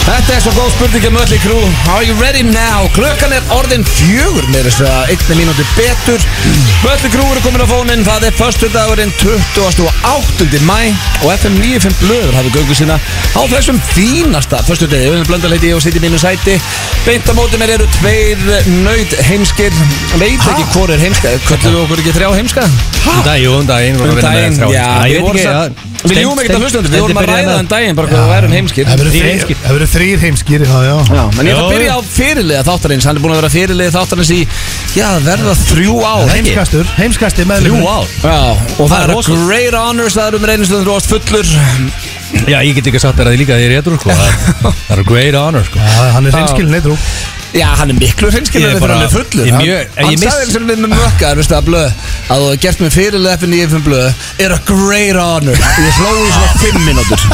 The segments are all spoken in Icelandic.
Þetta er svo góð spurning um öll í krú Are you ready now? Klökan er orðin fjögur með þess að einni mínúti betur Mölli krú eru komin á fónin Það er förstu dagurinn 28. mæ og FM 95 blöður hafið göngu sína á þessum fínasta förstu degi Öðun Blöndaleiti og sitt í mínu sæti Beint á móti mér eru tveir naut heimskir Veit ekki hvor er heimska Kölluðu okkur ekki þrjá heimska? Um daginn, jú, um daginn Um daginn, já, við ég veit vorum ekki samt- Við ljúum ekkert að hlustum Við vorum að ræða um daginn bara hvað við værum heimskir Það verður Þrír þrír- heimskir. það verður þrýr heimskir, já, já. Já, en ég ætla að Já, byrja já. á fyrirliða þáttarins Hann er búin að vera fyrirliða þáttarins í Já, það verða þrjú ár ekki? Heimskastur, heimskastur meðlum Þrjú ár Já, og það er eru rosalegt. great honors Það eru með reynistöðum þú ást fullur Já, ég get ekki sagt þér að ég líka að ég er réttur sko. Það það er great honor sko. Hann er hreinskilin eitrú Já, hann er miklu Ég hreinskilur er Þegar bara- hann er fullur ég er Hann- mjög- ég Hann miss- sagði eins og við með mökka Þú veist að blöð Að þú er gert með fyrirliða FN í FN blöð Er a great honor Ég hlóði í svona fimm mínútur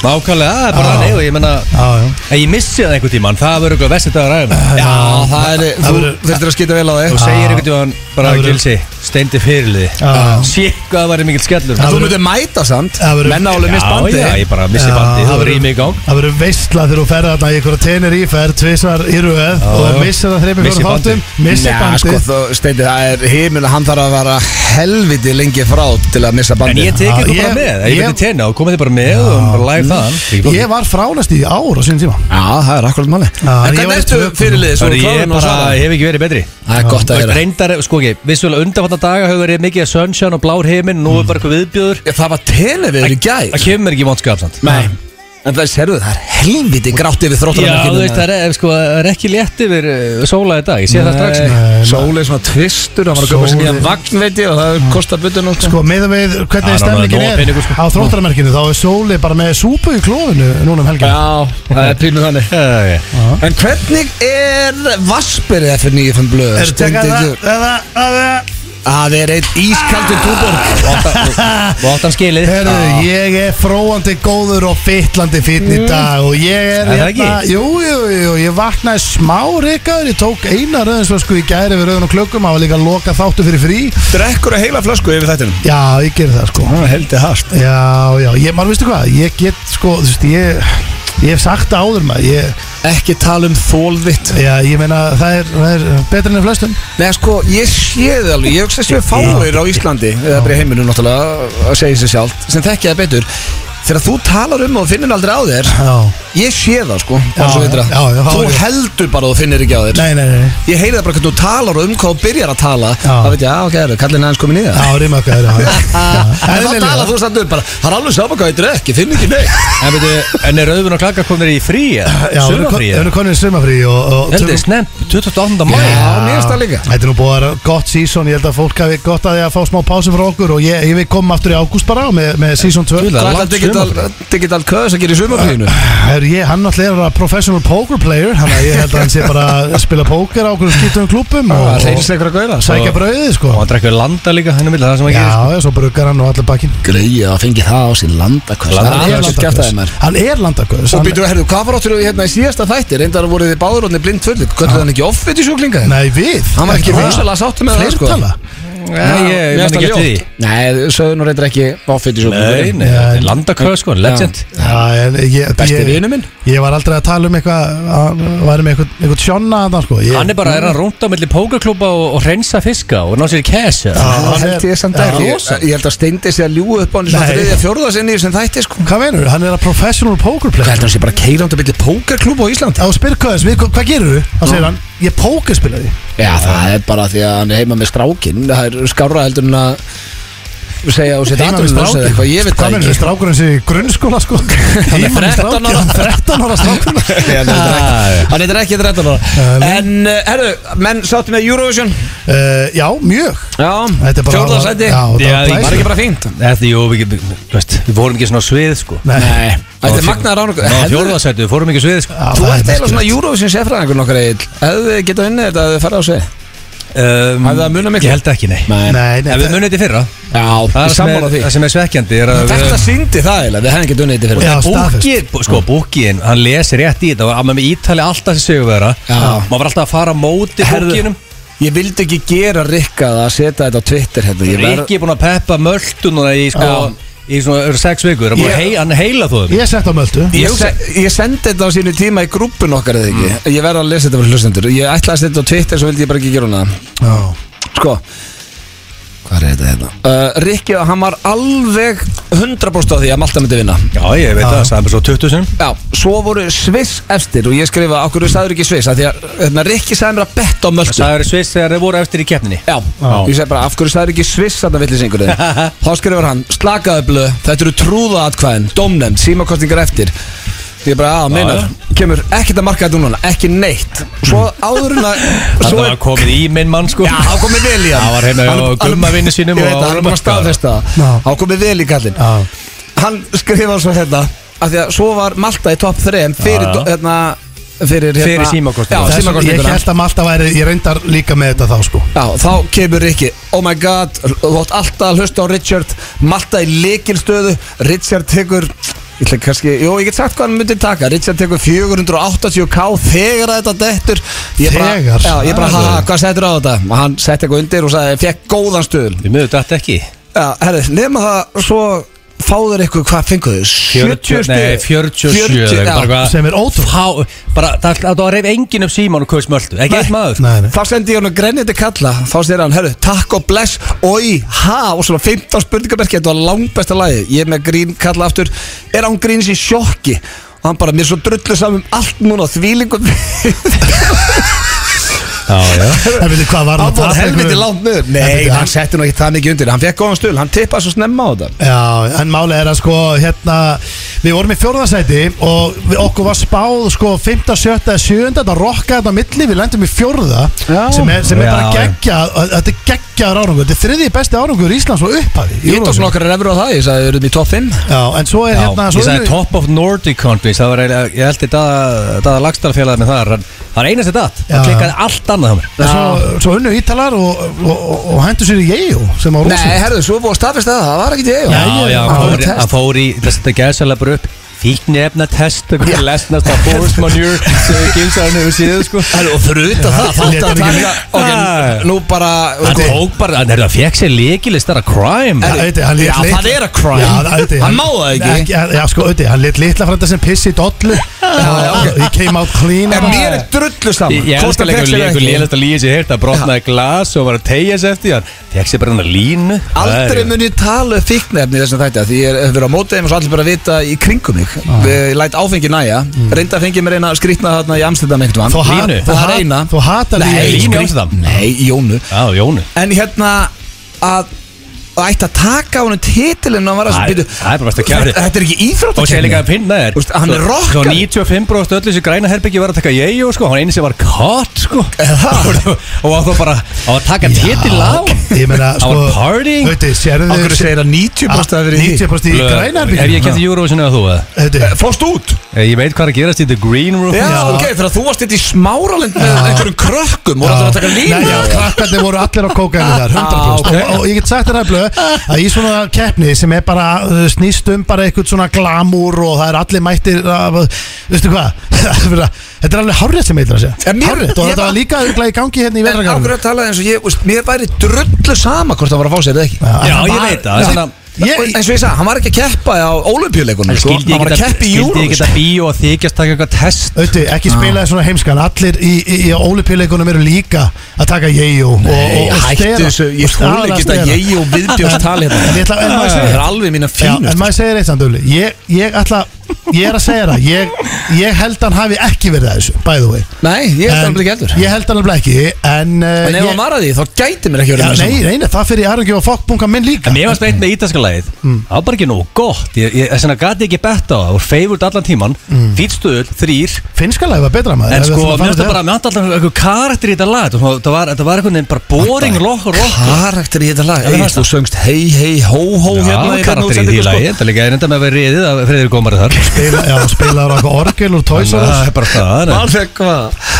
Nákvæmlega, það er bara þannig og Ég menna, Já, já ef ég missi það einhvern tímann Það verður eitthvað vestið dagar aðeins Já, það er Þú verður- þurftir að skita vel á Þú þig segir einhvern tímann bara Það að verður- gilsi Steindi fyrirlið Já. Sér hvað það væri mikill skellur En Það þú verður- myndir mæta samt Það verður- Menna álega mist Já, bandi já, ég bara missi Já, bandi það Það verður- verður í mig í gang Það verður veistla þegar þú ferð þarna í einhverja tenir íferð Tvisvar í röð og já. missir það þreipið Missir fyrir þáttum Missir Já, sko, bandið þú steindir, það er heimil að hann þarf að vera helviti lengi frá til að missa En bandið ég tekið þú Já, bara ég- með, ef ég ég- veit í tenna og komið þið bara með og bara live þaðan Mm. Ég var fránast í ár á sínum tíma Já, það er akkurat máli En Já, ég hvernig var í ertu tvö- fyrirlið, svo Hörru, ég klárin og bara, svona? ég hef ekki verið betri Það er gott að Og heyra Reyndar, sko ekki, vissulega undanfatna daga hefur verið mikið að sunshine og blár heiminn Nú er bara eitthvað viðbjöður Ég, Það var televiður í gær Það kemur mér ekki sko, í vondskap samt Nei En það serðu, það er helviti grátt yfir Já, þróttarverkinu þú veist, það er, sko, það er ekki létt yfir uh, sóla í dag, ég sé það strax Nei, Sóli er svona tvistur, hann var að köpa sér Sóli- nýjan vagn, veit ég Og það kostar butunum Sko, með að við Já, hvernig það var stemningin nóg er peningur, sko. á þróttarmerkinu þá er sóli bara með súpu í klófinu núna um helgin Já, það er pínu þannig Já, já. En hvernig er Vaspirið fyrir 9.5 blöð? Er Steindi, tekað þú- það? Eða, eða Það er einn ískaldur túborg Og átt hann- og átt hann skilið Herru, Já. ég er fróandi góður og fytlandi fýtn í dag og ég er hérna- Er það ekki? jú, jú, jú, ég vaknaði smá reykaður, ég tók eina röðin svo sko í gæri við röðun og klukkum, það var líka að loka þáttu fyrir frí. Drekkur að heila flösku yfir þættinum Já, ég gerði það sko. Heldi hart Já, já, ég, maður veistu hvað, ég get sko, þú veist, ég, ég hef sagt það áður maður, ég, Ekki tala um þólvitt já, ég meina það er, það er betra enn flestum. Nei sko, ég sé það alveg Ég hugsa að séu fáir á Íslandi Eða bara í heiminu náttúrulega að segja sér sjálft Sem þekkja það betur Þegar þú talar um það og finnir aldrei á þér Já, Ég sé það sko bara Já, svo veitir að- já, já, já, Þú já. heldur bara að þú finnir ekki á þér nei, nei, nei, nei. Ég heyri það bara hvernig þú talar og um hvað þú byrjar að tala Já. Það veit ég, já ok, er kallin aðeins komin í það já, rýma okkar, já, já. En þá Eðlilega. talar þú samt um bara Það er alveg sama hvað ég drekk, ég finn ekki neitt En veitu, en er auðvun og klakka komnir í frí, Já, við erum kon- sumafrí við erum konið í sumafrí og, og Heldur, snemmt, 28. mæ Já, mér finnst það líka. Þetta er nú búið að vera gott sísón Ég held að fólk hafi gott að því að fá smá pási frá okkur Og ég, ég vil koma aftur í ágúst bara með, með sísón 2 Guðlega. Það er Það langt er digital köðs að gera í sumafríðinu Her, ég, Hann náttúrulega er professional poker player Þannig að ég held að hann sé bara að spila póker á okkur skýtum klúpum og, Það og reynist einhver að gauða sækja brauðið sko Og hann drekkur landa líka henni milli, það sem ekki Já, já, svo bruggar hann og allir bakkin Greið að fengi það á sér landaköst Það er alveg langt gæft aðeins Hann er landaköðs Og hann- býtu, herðu, hvað var áttur við hérna í síðasta þætti? Reyndar voru þið báður og þið blind fullið Kvöldu hann ekki offit í sjúklinga? Nei, við Hann var ekki Það- rosalega sáttur með það, sko. Fleirtala? Nei, ég mér man finnst ekki það eftir því ljótt. Nei, sögðun og reyndar ekki offit í Nei, sjúklinga nei, þetta er landaköð sko, legend Já, en ég- Besti ég- vinur minn? Ég var aldrei að tala um eitthvað að væri með eitthvað, eitthvað sjónna þarna sko ég, Hann er bara er að rúnda mellir pókerklúpa og, og hreinsa fiska og ná sér í cash eða? Já, Það hann held ég samt Já, ekki Ég rosa. ég held að steindi sig að ljúa upp á hann Svo Nei. þriðja fjórða sinni sem þætti, sko Hvað meinur, hann er að professional poker Hvað player heldur hann sé bara keirandi að byrja pókerklúb á Ísland? Þá spyr Köðs, við, hvað gerir þú? Þá segir hann, ég pókerspilaði Já, það er bara því að hann er heima með strákin Það er skárra heldur en að segja á sitt Heima með atvinnulaus eða strákinn. eitthvað, ég veit Hvað það meinur, ekki. sko. strákurinn sé í grunnskóla sko Heima með 13 ára. strákinn, Ah, 13 ára strákurinn Já, Hann heitir ekki 13 ára Nei. En, uh, herru, menn sáttu með Eurovision uh, Já, mjög Já, Þetta er bara- fjórðarsæti Já, Var Já, það ég- var ekki glæsilegt. bara fínt? Þetta, jú, við, við, þú veist, við vorum ekki svona á svið sko Nei, Nei, þetta er fjó- magnaðar ánokkur Ná, fjórðasættu, við fórum ekki á svið sko Já, Þú það er ert eiginlega merkilegt. svona Eurovision sérfræðingur nokkar eiginl Hefðu þið getað unnið þetta að þið farið á sig um, Hafði það munað miklu? Ég held ekki, nei Nei, nei, En við það- munið þetta í fyrra Já, Það ég er sem sammála er, því það sem er svekkjandi er að við- Þetta syndi það eiginlega, við hefðum getað unnið þetta fyrir Já, staðfest. Búkið, sko, búkiðin, hann lesi rétt í þetta og að með ítali alltaf sem segjum vera Já. maður var alltaf að fara á móti Herðu, búkiðinum Ég vildi ekki gera Rikka að setja þetta á Twitter hérna Ég verð Rikki er búinn að peppa möldu núna í sko Já. í í svona sex vikur Hann búið að Ég- hei, hann heila þú þeim Ég sett á möldu Ég, se Mm. ég sendi þetta á sínu tíma í grúpun okkar eða ekki Ég verð að lesa þetta fyrir hlustendur Ég ætlaði að setja þetta á Twitter svo vildi ég bara ekki gera hana Já. Sko Hvað er þetta hérna? Uh, Rikki, hann var alveg 100% á því að Malta myndi vinna Já, ég veit það, sagði mér svo 20 sinn Já, svo voru Sviss eftir og ég skrifa Akkur við sagður ekki Sviss af Því að hérna, Rikki sagði mér að betta á möltu Það eru sviss þegar þeir voru eftir í keppninni Já, ég segi bara af hverju sagður ekki Sviss Þarna villisengur þinn Þá skrifur hann Slakaðu blöð, þetta eru trúðaatkvæðin Dómnefnd, símakostingar eftir Ég bara, að meinar, kemur ekkert að marka þetta núna Ekki neitt Svo áður en að Þetta svo var er- komið í minn mann sko Já, þá komið vel í hann Það var heima hjá Hann- hann- gummavinni sínum Ég veit og að hann hann var markaði. staðfesta Já. Þá komið vel í kallinn Já. Hann skrifar svo hérna af Því að svo var Malta í topp 3 Fyrir, Já, já. hérna Fyrir, hérna, Fyrir símakosningar. Já, Þess, Ég símakostninguna held að Malta væri, ég reyndar líka með þetta þá sko Já, þá kemur Rikki Oh my god, þú átt alltaf að hlusta á Richard Malta í leikilstöðu Richard tekur ég ætla kannski, Jó, ég get sagt hvað hann myndi taka Richard tekur 480k þegar að þetta dettur Ég bara- Þegar? Já, ég bara, Það er- ha, hvað settur á þetta? Og hann setti eitthvað undir og sagði, fekk góðan stöðul Við miður dætt ekki Já, herri, nema það svo fáður eitthvað, hvað fenguðu? 70 40, nei, 47 47, já bara eitthvað- Sem er ótrúlegt. Fá- bara, það, það, það reyf enginn um síman og kaus möldu ekki eitt maður Nei, nei. Þá sendi ég hann að grenjandi kalla Þá segir hann, herru, takk og bless Oi, ha, og svona 15 spurningamerki Þetta var langbesta lagi Ég er með grín kalla aftur Er án gríns í sjokki Og hann bara, mér er svo drullu saman um allt núna Þvílingum já, já. En veitir hvað var Hann hann að fór tapa helviti einhverju- langt niður En Nei, veitir, hann setti nú ekki það mikið undir Hann fekk góðan stöðl, hann tippaði svo snemma á þetta Já, en málið er að sko hérna, við vorum í fjórðasæti og við, okkur var spáð sko 5. 7. 7. þetta rokkaði þetta á milli, við lendum í fjórða Já. sem er, sem er Já, bara já. geggja þetta er geggjaður árangur, þetta er þriði besti árangur Íslands og upphafi í Ég tók Eurovision. svona okkar refur á það, ég sagði, við erum í top 5 Já, en svo er Já, hérna ég svo sagði erum við- top of Nordic countries það var eiginlega, ég held í daða lagstælfélagið með þar hann, hann einasti datt, Já. hann klikkaði allt annað á mér en svo, svo unnu Ítalar og, og, og, og hendur sér í Jeju sem á Nei, rosa herru, svo búið að staðfesta það, það var ekki til já, já, já, hann já, fór, test. hann fór í þess að þetta gæðsælega bara upp fíkni efna test eitthvað lesnast að force manure sem við gilsa hann hefur síðu sko Herru, og fyrir utan það, þátt hann lét að hann ekki taka Ah. Ok, nú bara hann tók bara, hann er það fekk sér leikilist það er að crime Já, veitir, hann lét Já, litla- það er að crime. Já, það- veitir, Hann má það ekki. Já, sko, auðvitað, hann lit litla frænda sem pissi í dollu já, He came out clean En mér er drullu saman Ég ég elska Hvort hann líka fékk sér einhver ekki. lélæsta líði sem ég heirt að brotnaði glas og var að tegja sér eftir því, hann fekk sér bara hann að línu Aldrei mun ég tala um fíknefni í þessum þætti af Því ég hef verið á móti þeim og svo allir bara vita í kringum mig Ah. Við læt áfengi næja Mm. Reynda að fengi mér eina skrýtna þarna í Amsterdam einhvern Þú vann hat- Línu. þú Það er hat- eina Þú hatar Nei, Línu í skrýt- Amsterdam? Ah. Nei, í Jónu Já, Jónu En hérna að að ætti að taka honum titilinn og hann var að Æ, bíddu, það er bara besta kjaftur. Þetta er ekki Og sér líka að íþróttakenni pinna þér Þú veist, hann er Svo- rockari. Svo 95 bróðast öllu þessu græna herbyggi var að taka ég og sko Hann eini sem var caught sko Og hann var bara á að taka titil á Ég meina, Hann sko var partying. Veitir, sérðu Akkur Ah. segir að 90% að verið í því 90% í grænarbyggjum Ef ég kemti Eurovision eða þú eða Veitir, Fórst út Eh, Ég veit hvað er að gerast í The Green Room Já, Já. ok, þegar þú varst þetta í smáralind með einhverjum krökkum og það var að taka línu Nei, já, eða? krakkarnir voru allir á kókainu þar 100% Ah, ok. og, og ég get sagt þér að blöð að í svona keppni sem er bara uh, snýst um bara eitthvað svona glamúr og það er allir mættir af, veistu hvað þetta er alveg hárrétt sem eitthvað að segja En mér- hárrétt og ég þetta var- var líka örugglega í gangi hérna í En ákveður verðargarðinu að tala eins og ég, veist, mér væri drullu sama hvort hann var að fá sér eða ekki Já, ég veit það Já. Þannig að Ég- Og eins og ég sagði, hann var ekki að keppa á olimpíuleikunum sko. Skildi Hann ég var að geta- keppa í skildi ég júru geta bíó að þykjast taka eitthvað test Ötti, Ah. ekki spilaði svona heimskan Allir í, í, í ólipíleikunum eru líka að taka jeju og, og, og Hættu stela. þessu, Og ég stala, skóli ekki þetta stela. ég og viðbjörns tali En ég ætla- en maður segir- Það er alveg mína Já, en fínust maður segir eitt samt öfli ég, ég ætla, ég er að segja það ég, ég held hann hafi ekki verið að þessu By the way Nei, ég held En- alveg ekki heldur Ég held hann alveg ekki En, uh, En ef ég, hann var að því, þá gæti mér ekki já, verið með nei, saman nei, nei, það fyrir Arungi og fokkbunga minn líka En mér varst eitt með ítalska lagið Það var bara ekki nógu gott Ég, ég, þess vegna gat ég ekki betta á það Það voru favorit allan tíman mm. Fýtstuðul, þrýr Finnskalega var betra maður En ef við sko, ætlum mér finnst að fara út það í bara Mér finnst alltaf einhver karakter í þetta lag Það var, það var, það var einhvern veginn bara boring rock og rock Karakter í þetta lag Já, Egill, það- Þú söngst hei hei hó hó Já, hérna í hvernig þú karakter í sendir því þetta, lagi Þetta er líka reynda með að vera riðið að Friðrik Gómari þar Spila, já, spilaður okkur orgel og Þannig að tóisar Það er bara það sko. nei. Alveg hvað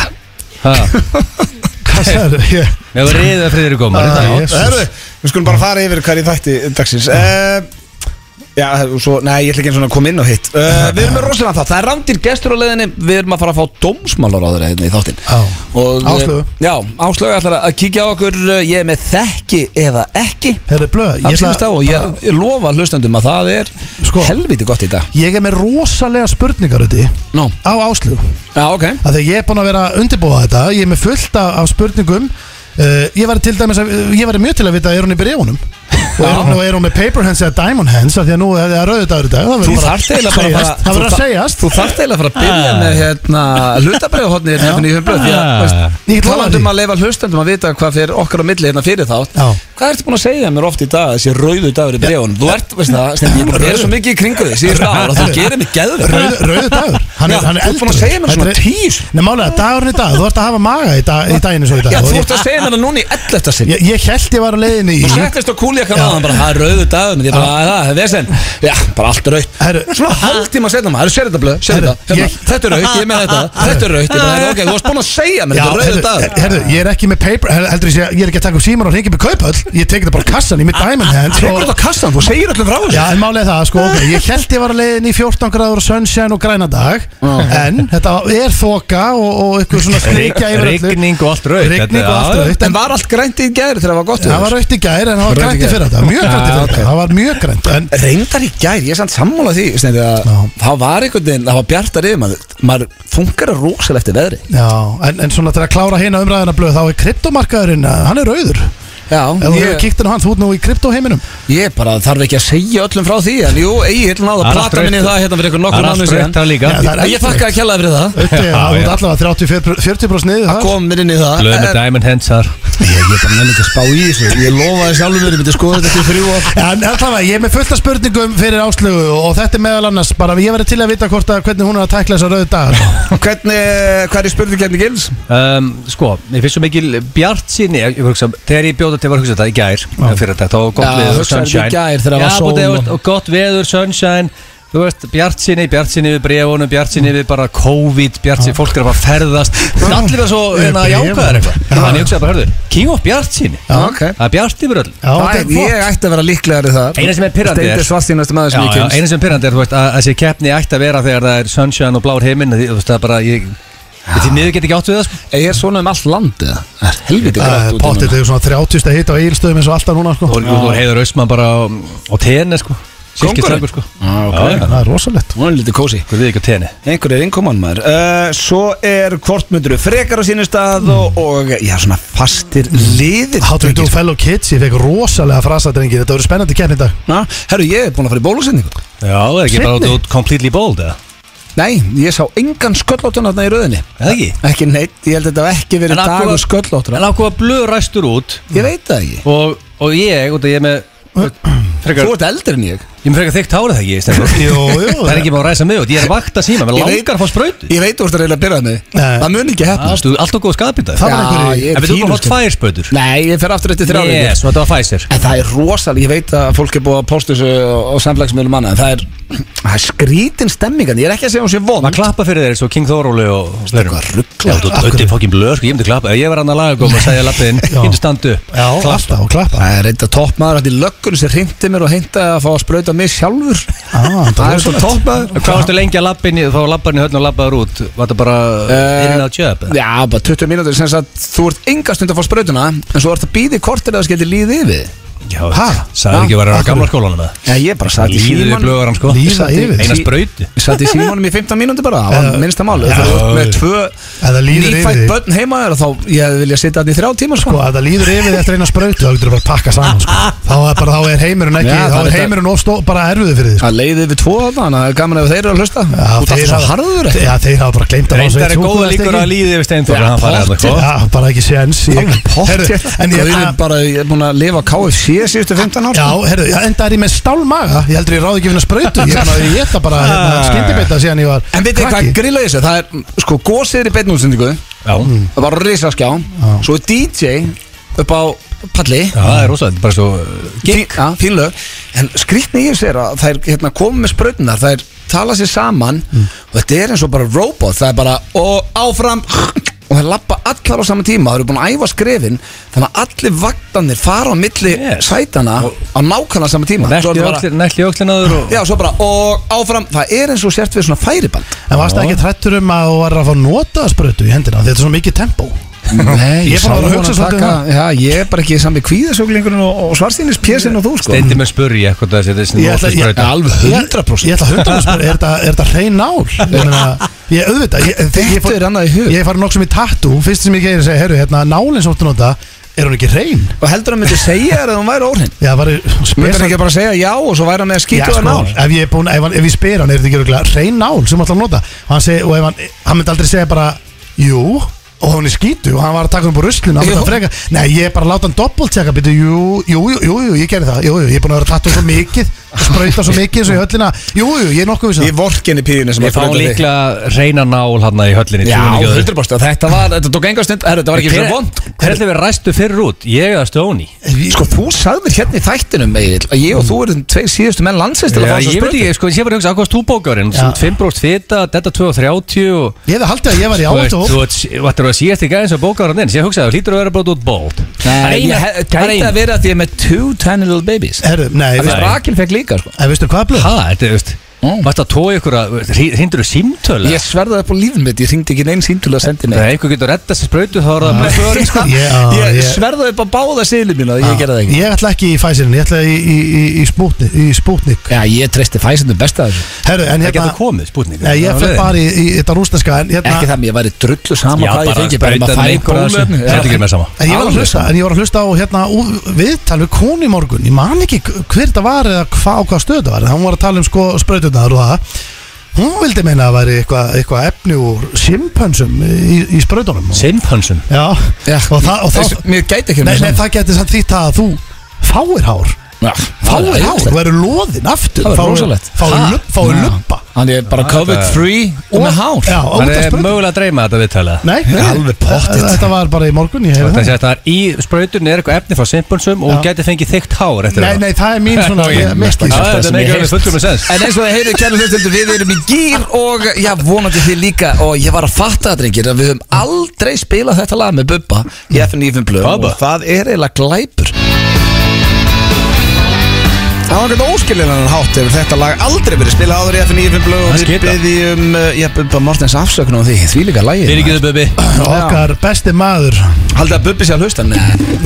Ha, Hvað sagður ég? Með að vera riðið að Friðrik Gómari Ah, það- Jesus. Herru, við skulum bara fara yfir hverju þætti dagsins Eh, Já, svo, nei, ég ætla ekki einu svona að koma inn og hitt uh, Við erum með rosalega þátt, það er rándir gestur á leiðinni Við erum að fara að fá dómsmálar á þeirra hérna í þáttinn Já. Og, uh, Áslaugu. Já, Áslögu ætlar að kíkja á okkur uh, Ég er með þekki eða ekki Herri, blöð, Það ég, skilist á ætla, og ég, ég lofa hlustendum að það er Sko. helviti gott í dag ég er með rosalega spurningar úti Nó, á áslug já, ok að þegar ég er búin að vera að undirbúa þetta ég er með fullt af, af spurningum uh, ég var til dæmis að, eh, ég var mjög til að vita er hún í brefunum og er hún, og er hún með paper hands eða diamond hands af því að nú er það rauðið dagur í dag það Þú verður bara þarft eiginlega bara að fara- það verður þú að þar- segjast Ah. Þú þarft eiginlega að fara að byrja með hérna hlutabrjóðhotni hérna hérna í humblöð Því að, Ah. veist, Ég get lofað talandum því. að leifa hlustendum að vita hvað fyrir okkar á milli hérna fyrir þátt Já. Hvað ertu búin að segja mér oft í dag, þessi rauðu dagur í brjóðunum Þú ert, veist það, Steindi, ég er búin að vera svo mikið í kringu því síðust ára Þú gerir mig geðveg Rauð- rauður dagur hann er, Já, hann er þú ert búin að segja mér svona tíu sinni. Nei, málega, dagurinn í dag, þú ert að hafa maga í, dag, í daginn eins og í dag Já, Og þú ég- ert að segja mér það núna í 11. sinni ég, ég held ég var á leiðinni í Þú settist á kúljakkan á hann bara, það er rauðu dagun Ég bara, "Að, það er vesen Já, bara allt raukt Herru. Svona haldtíma setna maður, sér þetta blöð, sér Herru, þetta hérna, ég- Þetta er raukt, ég er með þetta, þetta er raukt Ég bara, "Herru, ok, þú varst búin að segja mér, Já, þetta er herðu, rauðu dagur herðu, ég er ekki með paper herðu, heldur, ég, sé- ég er ekki að taka upp síman og ringi með kaupöll Ég tekið þetta bara á kassan, ég er með diamond hands Tekur og- þetta á kassan, þú segir öllum frá Já, þessu en málið er það, sko, ok, ég held ég var að leiðin í 14 gráður og sunshine og græna dag En þetta er þoka og, og ykkur svona skrikja yfir öllu Rigning og allt rautt Rigning og allt rautt En var allt grænt í gæri þegar það var gott Það var rautt í gær en það Rautt í var grænt í gær. fyrir þetta Mjög grænt í Já, fyrir ok. þetta, það var mjög grænt En Reyndar í gæri, ég er samt sammála því Steindi, að Já. Það var einhvern veginn, það var bjartar yfir maður Maður funkar að rósal eftir veðri Já, en, en svona til að klára hérna umræðina blöð þá er kryptomarkaðurinn, eh, hann er rauður Ef Já, þú hefur ég, kíkt inn á hann, þú ert nú í kryptoheiminum ég bara þarf ekki að segja öllum frá því En jú, Egil náði að plata minni í það hérna fyrir ykkur nokkur Það er allt rautt það líka Já, það er Ég þakka að kjalla fyrir það Þetta er Já, þú ert já. allavega 30-40% niður þar. kom mér inn í það Blöð með En- Diamond Hands þar Ég ég er bara nefnir ekki að spá í þessu Ég lofaði sjálfur mér, ég myndi skoða þetta til þrjú ár En allavega, ég er með fullt af spurningum fyrir áslögu og þetta er meðal annars bara, ég verði til að vita hvort að hvernig hún er að tækla þessa rauðu sko. dagar Hvernig, eh, hvað er spurning kemni gils? um, Sko, ég finnst svo mikil bjart síni ég, ég hugsa, Þegar ég bjóða til að hugsa þetta í gær Fyrir þetta, Já, þá var gott veður, hugsaðu sunshine í gær þegar það Já, var sól búið, og- og... og gott veður, sunshine Þú veist, bjart síni, bjart síni við brefunum Bjart síni við bara COVID, bjart síni Fólk er að bara ferðast Allir verða svo Við hérna, bréfunum. jákvæðar eitthvað Já. Þannig ég hugsaði bara, hörðu, king of bjart síni Já, ok. Það er bjart yfir öll Já, þetta er flott. Ég ætti að vera líklegari þar Eina sem er pirrandi er- Steindi svartínast maður sem Já, ég já, kynst eina sem er pirrandi er þú veist, að að þessi keppni ætti að vera þegar það er sunshine og blár heiminn því, þú veist, það er bara, ég, því miður get ekki átt við það sko. Ég er svona um allt land eða? Það er helviti Það grátt er út núna. Pottið er svona 30 að hita á eilstöðum eins og alltaf núna sko. og, og heiður Ösmann bara á, á tenni sko Silki Kóngurinn? trækur sko Já, ok. já, Það er rosalegt Hún er lítið kósi Hvað við ekki á tenni Einhver er innkoman maður uh, Svo er kvortmunduru frekar á sínum stað Hmm. og, og já, svona fastir liðir How to do fellow kids, ég fekk rosalega frasa drengir Þetta verður spennandi keppni í dag Na, Herru, ég er búin að fara í bólusendingu Já, það er ekki bara Seinni? þú ert completely bold eða Nei, ég sá engan sköllóttun þarna í röðinni Það ekki Ekki neitt, ég held að þetta hafi ekki verið En af hverju- dagur sköllóttur En ákvað blöð ræstur út Ég veit það ekki og, og ég, út að ég er með þú veist, Þú frekar, ert eldri en ég Ég er með frekar þykkt hárið það ekki Stefán? Jú, jú. Það er ekki bara að ræsa mig út Ég er vakt að síma Mér Ég veit- langar að fá sprautu Ég veit þú ert að reyna að byrja með Nei. Það mun ekki hefna Þú er alltaf góð skapið Það það var Já, einhverju- ég En er við þú fínur, fátt sko. tvær spautur Nei, ég fer aftur eftir þrjá yes. Yes, og þetta var Pfizer En það er rosalega, ég veit að fólk er búið að posta þessu á samfélagsmiðlum manna En það er, það er skrítin stemmingan Ég er ekki að segja hún sé vond Maður klappa fyrir þeir svo King Þóróli og Sleirum Hvað ruggla Já, þú döttir fokkin blöð sko, ég myndi klappa Ef ég var annar lagagóm og segja lappið inn, Já. ég myndi standu Já, alltaf og klappa Það er reynda toppmaður Þetta er löggun sem hringdi mér og heimta að fá að sprauta mig sjálfur Ah, Það er svona toppmaður Hvað varstu lengi að lappin í, þá lappar hann í höllin og lappaður út Var það bara Eh, inn á tjöp Já, bara 20 mínútur sem sagt Þú ert enga stund að fá sprautuna En svo ert að býði kortir að það skildi líði yfir Já, Ha? sagði ekki að vera á Af gamla hverju? skólanum eða? Já, ég bara satt í Líður í símanum blöðarann sko Líða yfir Eina Sí- sprauti Ég satt í símanum í 15 mínútur bara Það var minnsta máli Þú ert með Ef tvö það líður yfir nýfætt þig. börn heima þér Þá ég vilja sitja þetta í þrjá tíma Sko, sko. ef það líður yfir því eftir eina sprautu þá getur það bara að pakka saman sko. þá, er bara, þá er heimurinn ekki, Já, þá það er er þetta- heimurinn of stó, bara erfiði fyrir því sko. Það leiði yfir tvo þarna Þannig að það er gaman ef þeir eru að hlusta Þú Já, ert þeir alltaf svo hafa- harður ekki? Já, þeir hafa bara gleymt að fá svo Reyndar eitt er súkkulaðistykki. góða líkur að líði yfir Steinþór Hann farið að það sko Já, bara ekki séns ég- Herru, En ég Gauðin bara, ég er búin að lifa á KFC síðustu 15 ár sko. Já, herru, já, enda er ég með stálmaga Ég heldur ég ráði ekki finna sprautu Ég er búin að ég geta bara hérna, skyndibita síðan ég var Ah. En veitir hvað krakki. grillaði þessu? Það er sko gósið í beinútsendingu Já, Mm. Það var risaskjá Svo er DJ upp á palli Já, það er rosa, þetta er bara svo Fín- já, Fín lög En skrýtni í þessu er að þær hérna, komum með sprautunar Mm. Þær tala sér saman Og þetta er eins og bara robot Það er bara og áfram og það lappa allar á sama tíma það eru búin að æfa skrefin þannig að allir vaktanir fara á milli Yes. sætana á nákvæmlega sama tíma Svo er þetta bara- Nekli öxlinaður og Já, svo bara, og áfram, það er eins og sért við svona færiband En varst ekki trættur um að þú var að fá nota sprötu í hendina Þetta er svona mikið tempó Nei, Ég er bara að sá hugsa hana svolítið um taka- Já, ég er bara ekki sami kvíðasöglingurinn og, og svarstýnis pjesin og þú, sko Steindi með spurri eitthvað þessi þessi Ég ætla- ég- nótlisbrauta. Alveg Ég ætla að hundra sprötu, er þetta- er þetta hrein nál? Ég meina, ég auðvitað ég, ég, ég, Þetta er fór- annað í hug ég farið nokkuð sem í tattoo Fyrst sem ég gerir segja, herru, hérna nálinn sem þú ert að nota Er hún ekki hrein? Og heldur hann myndi segja þér að hún væri óhrinn Já, var Myndi hann spesa ekki bara segja já og svo væri hann með að Já, skýta sko, það nál ef ég, er búin, ef, hann- ef ég spyr hann er þetta ekki örugglega hrein nál sem hann ætlar að nota og hann, seg, og ef hann, hann myndi aldrei segja bara jú og hún er skýtu og hann var að taka hann upp úr ruslinu hann myndi Jú. að freka nei ég er bara að láta hann doppeltjaka býtu jú jú jú jú, jú ég gerði það jú jú ég er búin að vera að tattu svo mikið og sprauta um svo mikið eins og í höllina jú jú ég er nokkuð um við Ég það vorkinni píðinu sem Við fáum þig. líklega reyna nál hann í höllinni Já, trúum ekki öðru. 100% Þetta var, þetta tók enga stund Herru, þetta var ekki Hver- svona vond Hver ætlum við ræstu fyrir út? Ég eða Stóni? Sko, þú sagði mér hérna í þættinum, Egil Að ég og þú erum tveir síðustu menn landsins til að fá ég þessa veit spurningu ekki, sko, ég var að hugsa ákvæmst túbókarinn Já. 5% fita, þetta 2.30 og ég hefði haldið að ég var í Þú veist, áhættu Þú ert- þú ættir að síðast í gæðin sem bókaður hann inn Ég hugsaði, þú hlýtur að vera bara út bóld Nei, ég he- gæti að vera að því ég er með two tiny little babies herru nei Það veistu- er Rakel fekk líka, sko en veistu hvað blöð Ha, þetta, þú veist Mm. Varst að tóa ykkur að, hindur þú símtölu? Ég sverðaði upp á lífum mitt, ég hringdi ekki neinn símtölu að sendi Þegar mig einhver getur að redda sér sprautu þá er það með förin sko Ég- á, Ég ég- sverðaði upp á báða síðlum mína, ég gerði það ekki ég ætla ekki í Pfizerin ég ætla í, í, í, í, Sputnik, í Sputnik Já, ég treysti fæsindum besta þessu herru en Það hérna getur komið, spútningur Nei, ég fyrir bara í, í, í þetta rúsneska en hérna Ekki það að ég væri drullu sama Já, hvað ég bara fengi Bara um að fæ bóluefni sprautan einhver að þessu Þetta er ekki með sama En ég, var að Alveg hlusta, en ég var að hlusta á hérna, ú- viðtal við konu í morgun Ég man ekki hver þetta var eða hva, á hvað stöð þetta var En Hún var að tala um sko sprautunar og það Hún vildi meina að það væri eitthvað eitthva efni úr simpönsum í, í sprautunum Já, Sinnfönsum Já. og það, og það Þessu- Mér gæti ekki nei, nei, það geti samt þýtt það að þú fáir hár Já, Fáir er hár, þú verður loðin aftur Það verður fáir- rosalegt. Fáir Ha? lu- fáir Já. lubba Hann er bara Já, þetta- COVID-free og með hár Já, og Það út af er sprautunum mögulega að dreyma þetta viðtalið Nei, nei, Alveg pottþétt. Þetta var bara í morgun, ég heyrði Það það sé að það er í sprautunni er eitthvað efni frá Sinnfönsum og Já. hún geti fengið þykkt hár eftir Nei, það nei, það er mín svona Ná, ég- ég- mitt í Já, þessu. það sem ég heyrst. Þetta er ekki alveg fullur með sens En eins og það heyrðu kæru hlustundur, við erum í gýr og já, vonandi þið líka og ég var að fatta það, drengir, að við höfum aldrei spilað þetta lag með Bubba í FN Ífum Blöð Bubba. og það er eiginlega glæpur Það var ekkert óskiljanan hátt hefur þetta lag aldrei verið spilað áður í FN Ífum Blöð Það og við skita. byggjum, já, Bubba Mortens afsökun á því, því líka lagi Fyrir ekki þau bubi Okkar besti maður Haldið að Bubbi sé að hlusta Nei,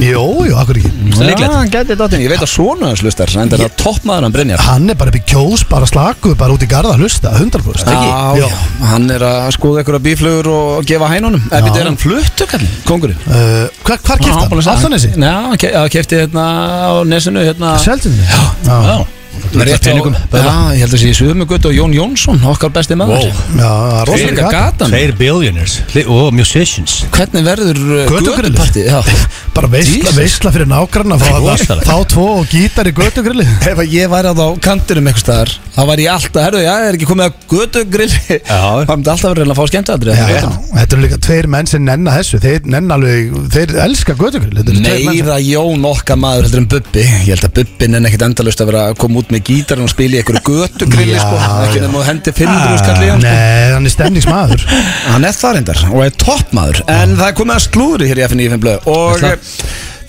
Jú, jú, akkur ekki líklegt. hann gæti þetta Ég veit að svona hans hlustar, en það er að toppmaður hann Brynjar Hann er bara upp í kjós, bara slaku, bara út í garða að hlusta, Já, 100% ekki? já, hann er að skoða einhverja bíflugur og gefa hænunum Já. Ef þetta er hann fluttu kallinn, kongurinn Uh, hvar hvar kipta hann? Aftanesi? Já, hann ke- hann kefti hérna á nesinu hérna Seldinni? Já Já, Rétt á- peningum, Já, ég held að sé í Suðumugötu og Jón Jónsson, okkar besti maður Wow. já, rosalega Rósleika gata gatan Tveir billionaires Li- og musicians Hvernig verður uh, Götugrillir. götupartí? Já. Bara veisla, Jesus. veisla fyrir nágrann að fá Rosalega. það Þá tvo og gítar í götugrilli Ef að ég væri að á kantinum einhvers staðar þá væri ég alltaf, herru, já, er ekki komið að götugrill Já. Það myndi alltaf verið að reyna að fá skemmtadri Já, já, þetta eru líka tveir menn sem nenna þessu Þeir nenna alveg, þeir elska götugrill Þetta eru tveir menn sem- Meira Jón okkar maður heldur en Bubbi Ég held að Bubbin er ekkit endalaust að vera að koma út með gítarinn og spila í einhverju götugrilli Já, sko, ekki já. nema að hendi 500 skall í hann sko. Nei, hann er stemningsmaður Ah, Hann er það reyndar og er toppmaður En það er komið að slúðri hér í FNÍ 5 blöð Og Það- eh,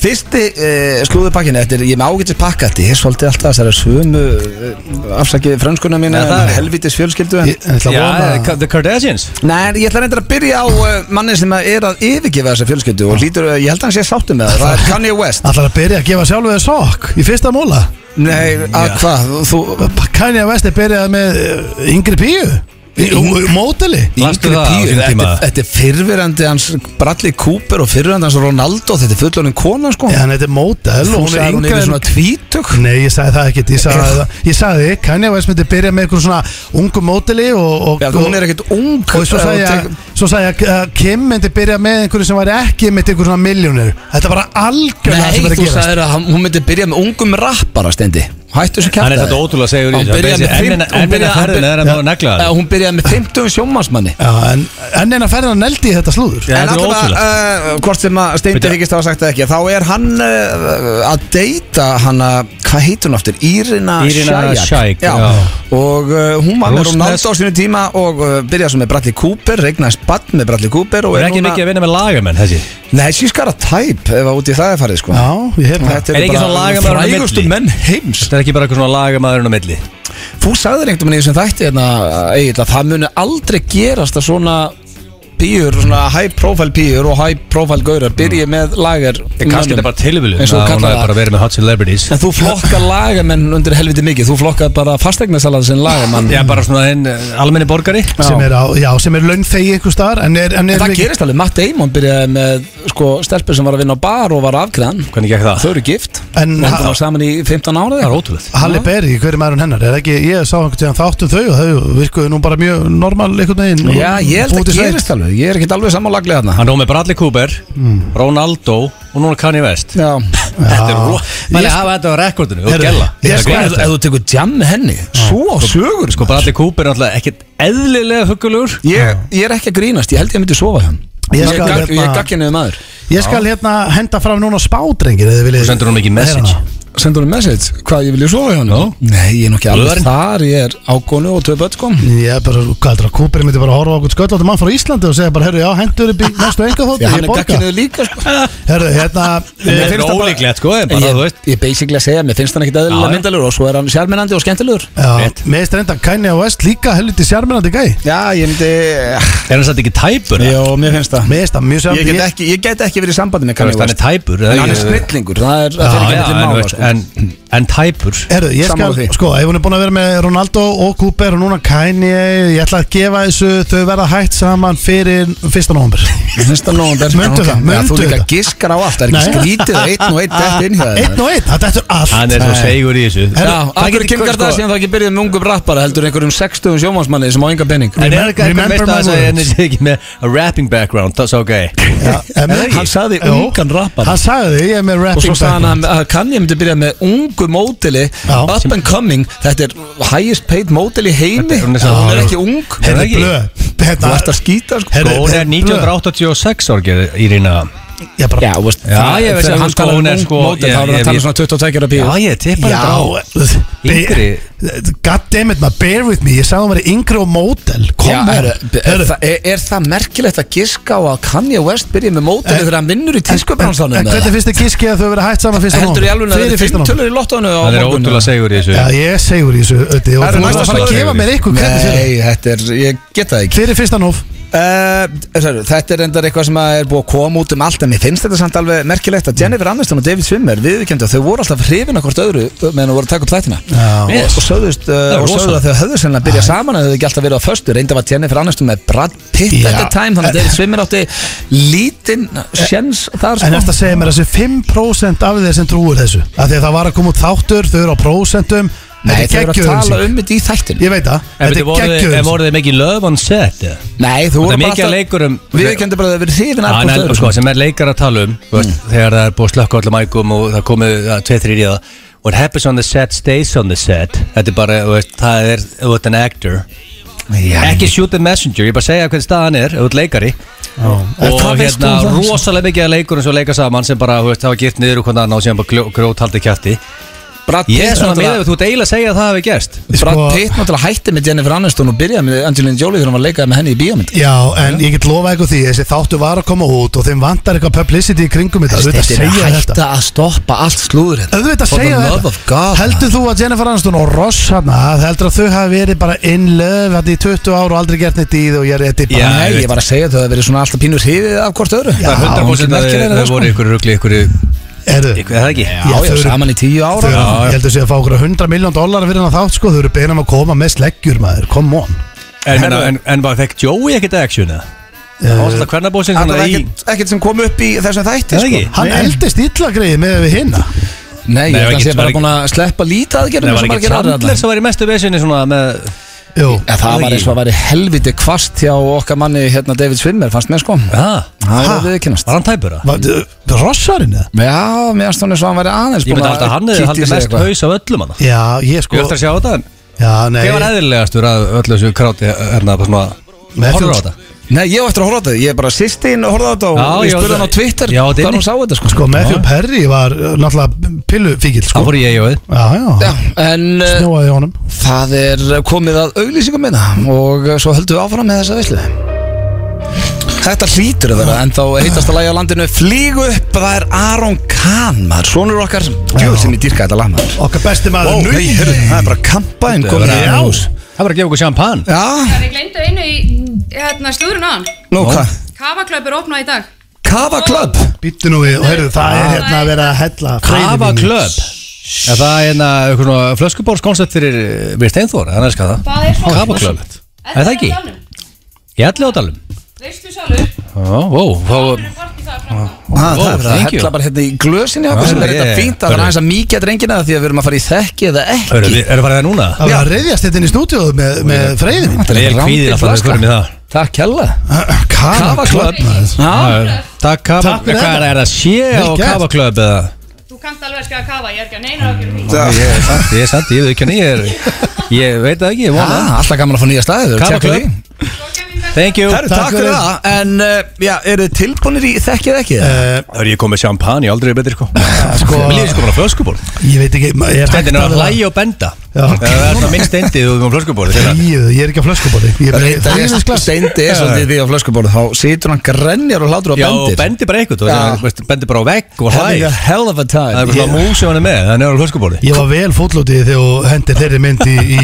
fyrsti eh, slúðurpakkin Þetta er, ég er með ágætis pakkati Ég er svolítið alltaf þessari sömu eh, Afsakið frönskuna mína Nei, það en er- Helvitis fjölskyldu en- Ég ég ætla að Já, eh, vona The Kardashians Nei, en ég ætla reyndar að byrja á eh, manni sem er að yfirgefa þessa fjölskyldu og lítur, eh, ég held að hann sé sáttum með það, það er Kanye West Ætlar að byrja að gefa sjálfu þér sokk Í fyrsta móla Nei, að hvað, þú, Kanye West er byrjað með uh, yngri píu Í- í- Módeli Lastu Yngri það á píu, sínum þetta, tíma? er- þetta er fyrverandi hans Bradley Cooper og fyrverandi hans Ronaldo Þetta er fullonin kona sko Já, hann heitir Módel Þú og hún sagði er að hún yngri er en- svona tvítug Nei, ég sagði það ekkert Ég sagði, það- ég sagði Kanye West myndi byrja með einhver svona ungu módeli og, og, Já, hún er ekkert ung Og svo sagði ég, svo sagði ég að Kim myndi byrja með einhverju sem væri ekki með einhverju svona miljónir Þetta er bara algjörlega Nei, sem er að þú gerast sagðir að hann- hún myndi byrja með ungum rappara stendi Hættu þessu Hann kæfta er þetta ótrúlega segur í Hann byrjaði með þessu fimm- hún Ennina byrjaði- ferðin er að maður negla það Hún byrjaði með 50 sjómasmanni Já, en, en eina ferðan neldi í þetta slúður En Já, þetta er allavega, ótrúlegt uh, hvort sem að Steindi Byrja- Higgist hafa sagt það ekki Þá er hann eh, uh, að deyta hana, hvað heitir hún aftur? Írina Irina Shayk Shayk, já. já. og uh, hún var með Rússnes. Ronaldo á sínu tíma og uh, byrjaði svo með Bradley Cooper regnaðist bann með Bradley Cooper og er ekki mikið að vinna með lagamenn þessi Nei, she's got a type ef að út í það er farið sko Já, ég hef það Þetta Er eru ekki bara svona lagamaður á frægustu milli? menn heims Þetta er ekki bara eitthvað svona lagamæðurinn á milli Þú sagðir einhvern veginn í þessum þætti hérna, Egill, að það muni aldrei gerast að svona pýur, svona high profile pýur og high profile gaurar byrji með lagar Kannski þetta er bara tilviljun Eins og að þú hún kallar hafi bara það verið með hot celebrities En þú flokkar lagamenn undir helviti mikið Þú flokkar bara fastegnarsalan sem lagamann Já, bara svona einn almenni borgari sem er, á, já, sem er launþegi einhver staðar en er, en En er það ekki- gerist alveg, Matt Damon byrjaði með sko, stelpur sem var að vinna á bar og var afgræðan Hvernig gekk það? Þau eru gift En og ha- það var saman í 15 ára Það er ótrúlegt Halle Berry, hver er maðurinn hennar? Er ekki, ég sá einhvern tíðan þáttum þau og þau virkuðu nú bara mjög normal einhvern veginn Já, ég held Búið að til sveit. gerist alveg Ég er ekkert alveg sammálaglega þarna Hann nóg með Bradley Cooper, Ronaldo og núna Kanye West Já, Þetta er Já. rú Mæli hafa þetta á rekordinu og Herru, gella ég Það Sko, er ef, gott. ef þú tekur jam með henni Svo sögur Sko sko Bradley Cooper er náttúrulega ekkert eðlilega huggulugur ég, ég er ekki að grínast, ég held ég myndi sofa hjá hann Ég Ég, skal gag- hérna- ég gagja niður maður Ég skal hérna henda fram núna spádrengir eða viljið Þú sendir honum ekki message. Heyra hana. Sendur hún message, hvað ég vilja sofa hjá hann Nei, ég er nú ekki alveg Öðrin. þar Ég er ágónu og tvö börn sko. kom Ég er bara, hvað heldur að Kúperi myndi bara horfa okkur sköllóttum mann frá Íslandi og segja bara, herru, já, hendur upp í næstu enga þótt Já, hann Ég er borga gagja niður líka sko Herru, hérna Það eh, er finnst það bara- ólíklegt sko En En bara ég, þú veist ég basically að segja, mér finnst hann ekkit Já, eðlilega já. myndalegur og svo er hann sjálfminnandi og skemmtilegur Já, Rétt. mér finnst reynda Kanye West líka helviti sjármennandi gæ Já, ég myndi Er hann satt ekki tæpur? eða? Jó, mér finnst það Mér finnst það mjög Ég get sjármennandi ekki, ég get ekki verið í sambandi með Þú veist, Kanye Hann er West tæpur eða En hann er ekki? snillingur, það er, það er Já, ekki já, en, milli mála veist, sko. en, en tæpur Herru, ég Sammála skal, því. sko, ef hún er búin að vera með Ronaldo og Cooper og núna Kanye Ég ætla að gefa þessu, þau verða hægt saman fyrir 1. november Fyrsta nóvember Mundu það, Já, Þú mundu líka það. giskar á allt, það er ekki Nei. skrítið að einn og einn dætt inn hjá þér Einn og einn, það dettur allt Hann er svo segur í þessu Já, Herru, af hverju Kim Kardashian það ekki byrjuð með ungum rappara heldur einhverjum sextugum sjómansmanni sem á enga penning En er ekki eitthvað Remember meist að my þess að words. henni sé ekki með a rapping background, það sá gæi Hann sagði ungan rappara Hann sagði, ég er með Og rapping svo sagði hann background. að Kanye myndi byrja með ungu mótili Já. Up and coming Þetta er highest paid mótili í heimi Þetta er hún Hún er sem- er Já. ekki ung Heyrðu, Þú það Herru, ekki? blöð Þetta- ert að skýta sko Herru, Og hún er blöð. 1986 orgið í rýna Ég bara Já, þú veist Já, það- ég veist þegar að hann sko, talar um hún er ung sko- mótil ég- Þá er hann ég- að tala um svona 22 ára píu Já, ég tippa Já, þetta á Yngri. God damn it, maður, bear with me Ég sagði hún verið yngri og mótel Já, Kom er, her er, það- er, er það merkilegt að giska á að Kanye West byrja með mótili En- þegar hann vinnur í tískubransanum En hvernig finnst þið giski að þau verið hægt saman fyrsta Heldur í alveg að það Fyrir eru fyrsta fimm nóg tölur í lottónu á Það er morgun? ótrúlega segur í þessu Já, ég segur í þessu öddi, og Það er Þú næsta verður að fara að slagurinn. gefa mér eitthvað kredit fyrir Nei, þetta er, ég get það ekki Fyrir fyrsta nóg uh, Þetta er endar eitthvað sem að er búið að koma út um allt En mér finnst þetta samt alveg merkilegt að Jennifer Aniston og David Swimmer viðurkendu að Þau voru alltaf hrifin hvort öðru meðan þau voru að taka upp þættina Já. Og, og sögðust er uh, og sögðu rosalegt. að þau höfðu sennilega að byrja saman að þau ekki alltaf verið á föstu Reynda var Jennifer Aniston með Brad Pitt Já. at the time Þannig að David Swimmer átti lítinn sjens þar En sko. eftir að segja mér að þessi 5% af þeir sem trúir þessu Af því að það var að koma út þáttur, þau eru á prósentum Nei, þau Þetta er eru að tala geggjöðum um þetta í þættinu Ég veit það, En þetta veitu, voruð þið- en er geggjöðum voruð þið mikið love on set eða? Nei, þú Þetta er voru bara mikið að leikurum- Við kemdu bara að þau verið hrifin Já, af en hvort en, öðru sko, sem er leikar að tala um þú veist, þegar það er búið að slökka á öllum mækum og það komið að tveið þrýr í það What happens on the set stays on the set Þetta er bara, þú veist, það er, þú ert an actor Já, Ekki shoot the messenger, ég er bara að segja hvernig staðan er, þú ert leikari Og Hvað veist hérna, þú um það? rosalega mikið að leikurum sem leika saman sem bara, þú veist, hafa girt niður og hvernig annað og síðan bara gljó- grjóthaldi kjæfti Brad Ég er Pitt svona náttúrulega- með, þú ert eiginlega að segja að það hafi gerst Brad Sko- Pitt náttúrulega hætti með Jennifer Aniston og byrjaði með Angelina Jolie þegar hann var að leikaði með henni í bíómynd Já, en ég get lofa eitthvað því Þessi þáttu var að koma út og þeim vantar eitthvað publicity í kringum þetta Auðvitað Þetta er að segja hætta þetta að stoppa allt slúður hérna Auðvitað For the segja love of þetta God. Heldur þú að Jennifer Aniston og Ross hana Heldur að þau hafi verið bara in love Þetta í 20 ár og aldrei gert neitt í því og ég er þetta er bara Já, Nei, ég ég veit. var að segja þau að það verið svona alltaf pínur hrifið af hvort öðru Það er Já, 100% að mikið þið- merkilegra þið sko. voru ykkur rugli, ykkur, Eru- ykkur, er það ekki? Já, Já, já, þau eru- saman í tíu ára Þau- Já, Ég heldur að sé að fá okkur 100 miljón dólar fyrir hann að þátt sko Þau eru beðin um að koma með sleggjur maður Come on En, en, en, en var fekk Joey ekkert action eða? Það Eh, var alltaf kvernabósin Það svona er í ekkert- ekkert sem kom upp í þessum þætti Það sko. er ekki. Hann Nei. eldist illa greið með við hinna Nei, ég Nei, held að ekki- hann sé var bara ekki- búin að sleppa lítið Nei, aðgerðum var sem ekki margir aðrir Chandler þarna. sem var í mestu vesinni svona með Jú, En Það Það var ekki. eins og að væri helviti kvast hjá okkar manni hérna David Swimmer, fannst mér sko Ha? Það Ha? var viðkynast Var hann tæpur það? Var- uh, rossarinn eða? Já, mér finnst hún eins og hann væri aðeins Ég myndi alltaf að hann hefði kitta í haldið sig mest eitthvað. haus af öllum hann Já, ég Ég sko ætti að sjá þetta en Já, nei Hver var eðlilegastur að öllu þessu kráti hérna bara svona Matthew- Horfður á þetta Nei, ég var eftir að horfa á þetta, ég bara sýsti inn og horfa á þetta og Já, ég já, spurði hann á það- Twitter já, þetta er hvar inni. hún sá þetta sko, Sko, Matthew Perry var uh, náttúrulega pillufíkil, Það sko fór í EIO-ið Já, já, Já, en uh, snjóaði honum það er komið að auglýsingum minna og uh, svo höldum við áfram með þessa veislu Þetta hlýtur að vera en þá heitast að lægja á landinu Flýg upp, það er Aron Kahn maður, svonur okkar, djúl sem ég dýrka þetta lag maður Okkar besti Ó, maður nei, heyrðu, það er bara kampaðin Það var komið í að- hús það var að gefa okkur sjampan Já, Við glemdu einu í hérna, slúðurinn á hann. nú hvað, Kafaklöp er opnað í dag. Kava Club Býttu nú við og heyrðu, það er hérna að vera að hella Kafa freyðivíni. Club Er það hérna einhvern veginn flöskubórskoncept fyrir eh, Við Steinþór, hann elskar það Það er svona. Kafa Club Er það ekki? Í allir ádalum Veistu sjálfur? Ó, ó, þá Það er partí það fram. Ah, Wow, það er verið að thank you. hella bara hérna í glösinni okkur Ah, sem er yeah. þetta fínt að það er Hörru. aðeins að mikið að drengina því að við erum að fara í þekki eða ekki Erum við erum farið það núna? Það var að reyðjast hérna inn í stúdíóðu með, með freyðin Þetta er Ég er rándýr kvíðinn að fara flaska. að förum í það. Takk hella Kafa Kafa Club. klöp maður. Já, Já, Takk Kafa Takk fyrir Hvað er það? þetta. Er það sé Vel og gert. Kafa Club eða? Þú kannt alveg að skjá kafa, ég er ekki að neina okkur um því. Já. Ég er sant, ég er sant, ég veit ekki hann ég er Ég veit það ekki, ég vona Ah, alltaf gaman að fá nýja staðið Kafa Club. Svo kemur við Thank you Herru, takk fyrir það En, uh, já, eru þið tilbúinir í þekki eða ekki? Eh, Það er ég komið sjampan, ég aldrei er betri sko sko, Mér líður sko bara flöskuból Ég veit ekki, ma- er hægt Þetta er að að vera hlæja og benda Já. Það er alltaf minnst endið og við komum flöskuból Þegar Ríðu, Ég er ekki á flöskubóli Ég er bara í Það þess er glas steindi er svolítið því á flöskuborðu Þá situr hann grenjar og hlátur á Já, bendir bendi bara eitthvað, þú Já. veist, veist, bendi bara á vegg og hlæg Having a Það hell of a er time eitthvað svona mús sem hann er með, það er nefnilega hlöskubóli Ég var vel fótlótið þegar þú hendir þeirri mynd í, í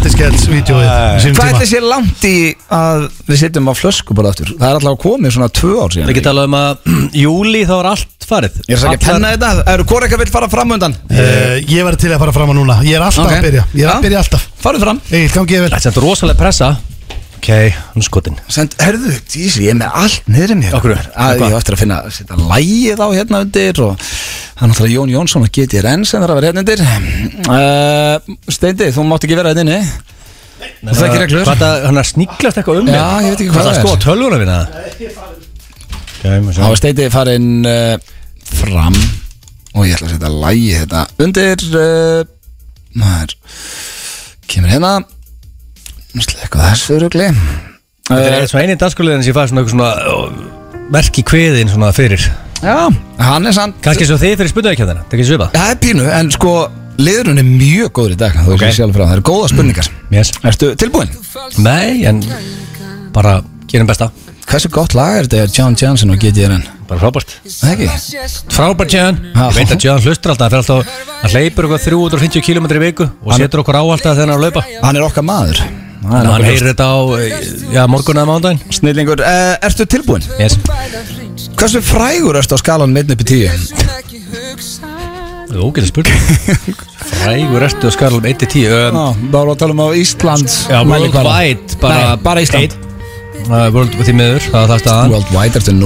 partyskjælsvídeóið Hvað ætli sér langt í að við sittum á flöskuborðu aftur? Það er alltaf komið svona tvö ár síðan Við getum talað um að júli þá er allt farið Ég er að Allar- kenna þetta, eru hvort eitthvað vill fara fram undan? Uh, ég var til að fara fram á núna Ég er alltaf Ok. að byrja Ég er Já. að byrja alltaf Farðu fram Egil, gangi ég vel Þetta er samt rosalega pressa Ok, hann er skotin Send, herðu, dísi, ég er með allt niður um hér Af hverju? Að ég á eftir að finna, setja lægið á hérna undir og það er náttúrulega Jón Jónsson og GTRN sem þarf að vera hérna undir uh, Steindi, þú mátt ekki vera hérna inni Þú þekkir reglur Hvað það, hann er að sníklast eitthvað um Já, mig? ég veit ekki hvað Hvað það það er. sko, tölvuna minna Þá er Steindi farin uh, fram og ég ætla að setja lægið hérna undir uh, maður kemur hérna slekku þessu rugli Þetta uh, er svona eini danskulegðin sem ég fæði svona eitthvað svona verki kviðin svona fyrir Já, hann er samt Kanski svo þið fyrir spurningarkjöndina, það er ekki svipað Það er pínu, en sko liðurinn er mjög góður í dag þú Ok. Mm. okay. sjálf frá, það eru góða spurningar Yes Ertu tilbúin? Nei, en bara gerum besta Hversu gott lag er þetta er John Johnson og GTRN? Bara frábært Það ekki? Frábært Jan Ég veit að Jan hlustur alltaf, hann fer alltaf hann hleypur eitthvað 350 km í viku og setur okkur á alltaf þegar hann er að laupa Hann er okkar maður Þannig að hann heyrir þetta á, já, morgun eða mándaginn Snillingur, uh, ertu tilbúin? Yes Hversu frægur ertu á skalan meðn upp í tíu? Það er ógætið spurning Frægur ertu að skarla um 1-10 um, Ná, þá erum við að tala um á Íslands Já, mælikvarða. worldwide bara, Nei, bara Ísland einn. Það er World, því miður, það er það staðan Worldwide ertu 0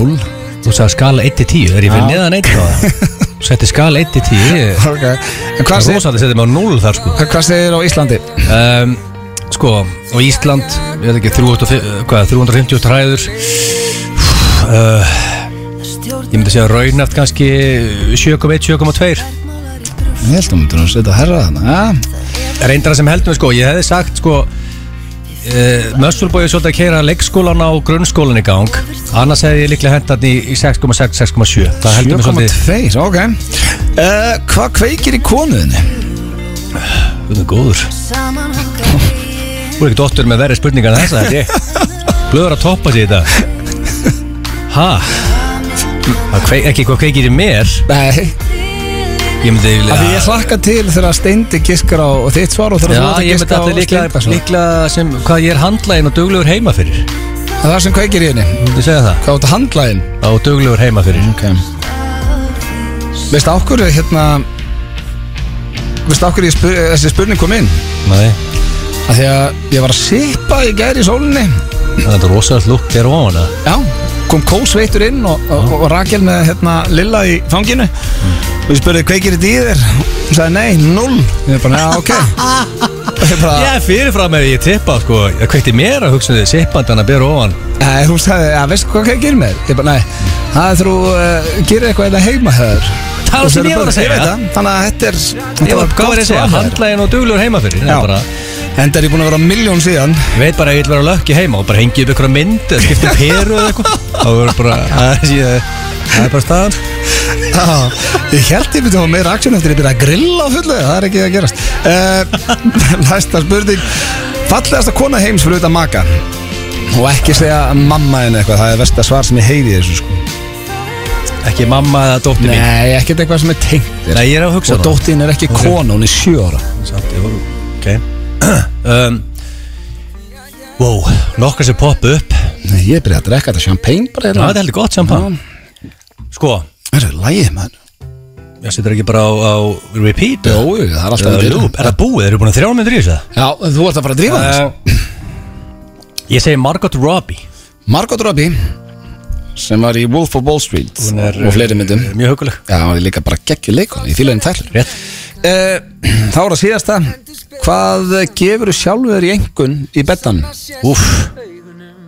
Þú sagði skala 1 til 10, er ég fyrir neðan 1 á það? Setti skala 1 til 10 ég- Ok, en hvað Það er segir, rosalega setið mig á 0 þar sko hvað segir á Íslandi? um, Sko, og Ísland Ég veit ekki, 350, hvað, 350 træður uh, eh, Ég myndi segja raunæft kannski 7,1, 7,2 Ég held að hún myndi að setja að herra þarna ja. reyndara sem heldum við sko, ég hefði sagt sko Uh, Mössulbói er svolítið að keira leikskólan á grunnskólan í gang annars hefði ég líklega hendat í í 6,6, 6,7 það heldur mig svolítið 7,2, ok uh, Hvað kveikir í konuðinni? Guð minn góður Þú er ekki dóttur með verri spurningar en þessa held ég Blöður að toppa sér í þetta Ha? Það kveik, ekki hvað kveikir í mér Nei, Ég myndi Af því vilja ég hlakka til þegar Steindi giskar á og þitt svar og þegar Já, þú ert að ég myndi giska á alltaf líklega, Steindi líklega sem, hvað ég er handlægin og duglegur heima fyrir Ég Það er það sem kveikir í henni myndi segja það Hvað áttu handlæðin? Og duglegur heima fyrir Ok Veistu á hverju hérna Veistu á hverju ég spur, þessi spurning kom inn? Nei, Af því að ég var að sippa í gæri í sólinni það er rosalegt lúk þér á hana Já Kom kósveitur inn og, og, og Rakel með hérna Lilla í fanginu Og ég spurði kveikir þetta í þér Hún sagði nei, null Ég bara, já, ok Og Ég bara, Já, fyrirfram ef ég tippa, sko, ég kveikti mér að hugsa þið sippandana byrja ofan Nei, hún sagði, að veistu hvað ég gerir með? þér?" Ég bara, nei, það er þú uh, gerir eitthvað eða heima höður Það var sem ég var að segja. Þannig að þetta er Ég þetta var, hvað var ég að segja, svar hjá þér. handlægin og duglegur heima fyrir Já. bara, Enda er ég búin að vera á miljón síðan Ég veit bara að ég vil vera lökki heima og bara hengi upp einhverja mynd eða skipta um peru eða eitthvað þá verður bara, að, ég, það er bara staðan Já, Ég held ég myndi að hafa meira aksjón eftir ég byrja að grilla á fullu Það er ekki að gerast uh, Næsta spurning Fallegasta kona heims fyrir utan maka Og ekki segja mamma en eitthvað Það er versta svar sem ég heyri í þessu sko. ekki mamma eða dóttir mín Nei, ekkert eitthvað sem er tengt sko. Nei, ég er að hugsa Og dóttin er ekki Ok. kona, hún er sjö ára Samt, jú, ok um, Wow, nokkar sem poppa upp Nei, ég byrja að drekka þetta champagne bara Já, þetta er heldur gott sjampan Sko, Það er lægið maður ég setur ekki bara á, á repeat Jó, eða? það er alltaf Eða undir. loop? Er það búið? Eru búin að þrjá myndir í þessu? Já, þú ert að fara að drífa þess Uh, ég segi Margot Robbie Margot Robbie sem var í Wolf of Wall Street Hún er, og fleiri myndum eh, mjög hugguleg. Já, hún er líka bara geggjur leikon í fílaðin tællur Rétt Eh, Þá er það síðasta Hvað gefur þú sjálfur í engun í bettan? Úf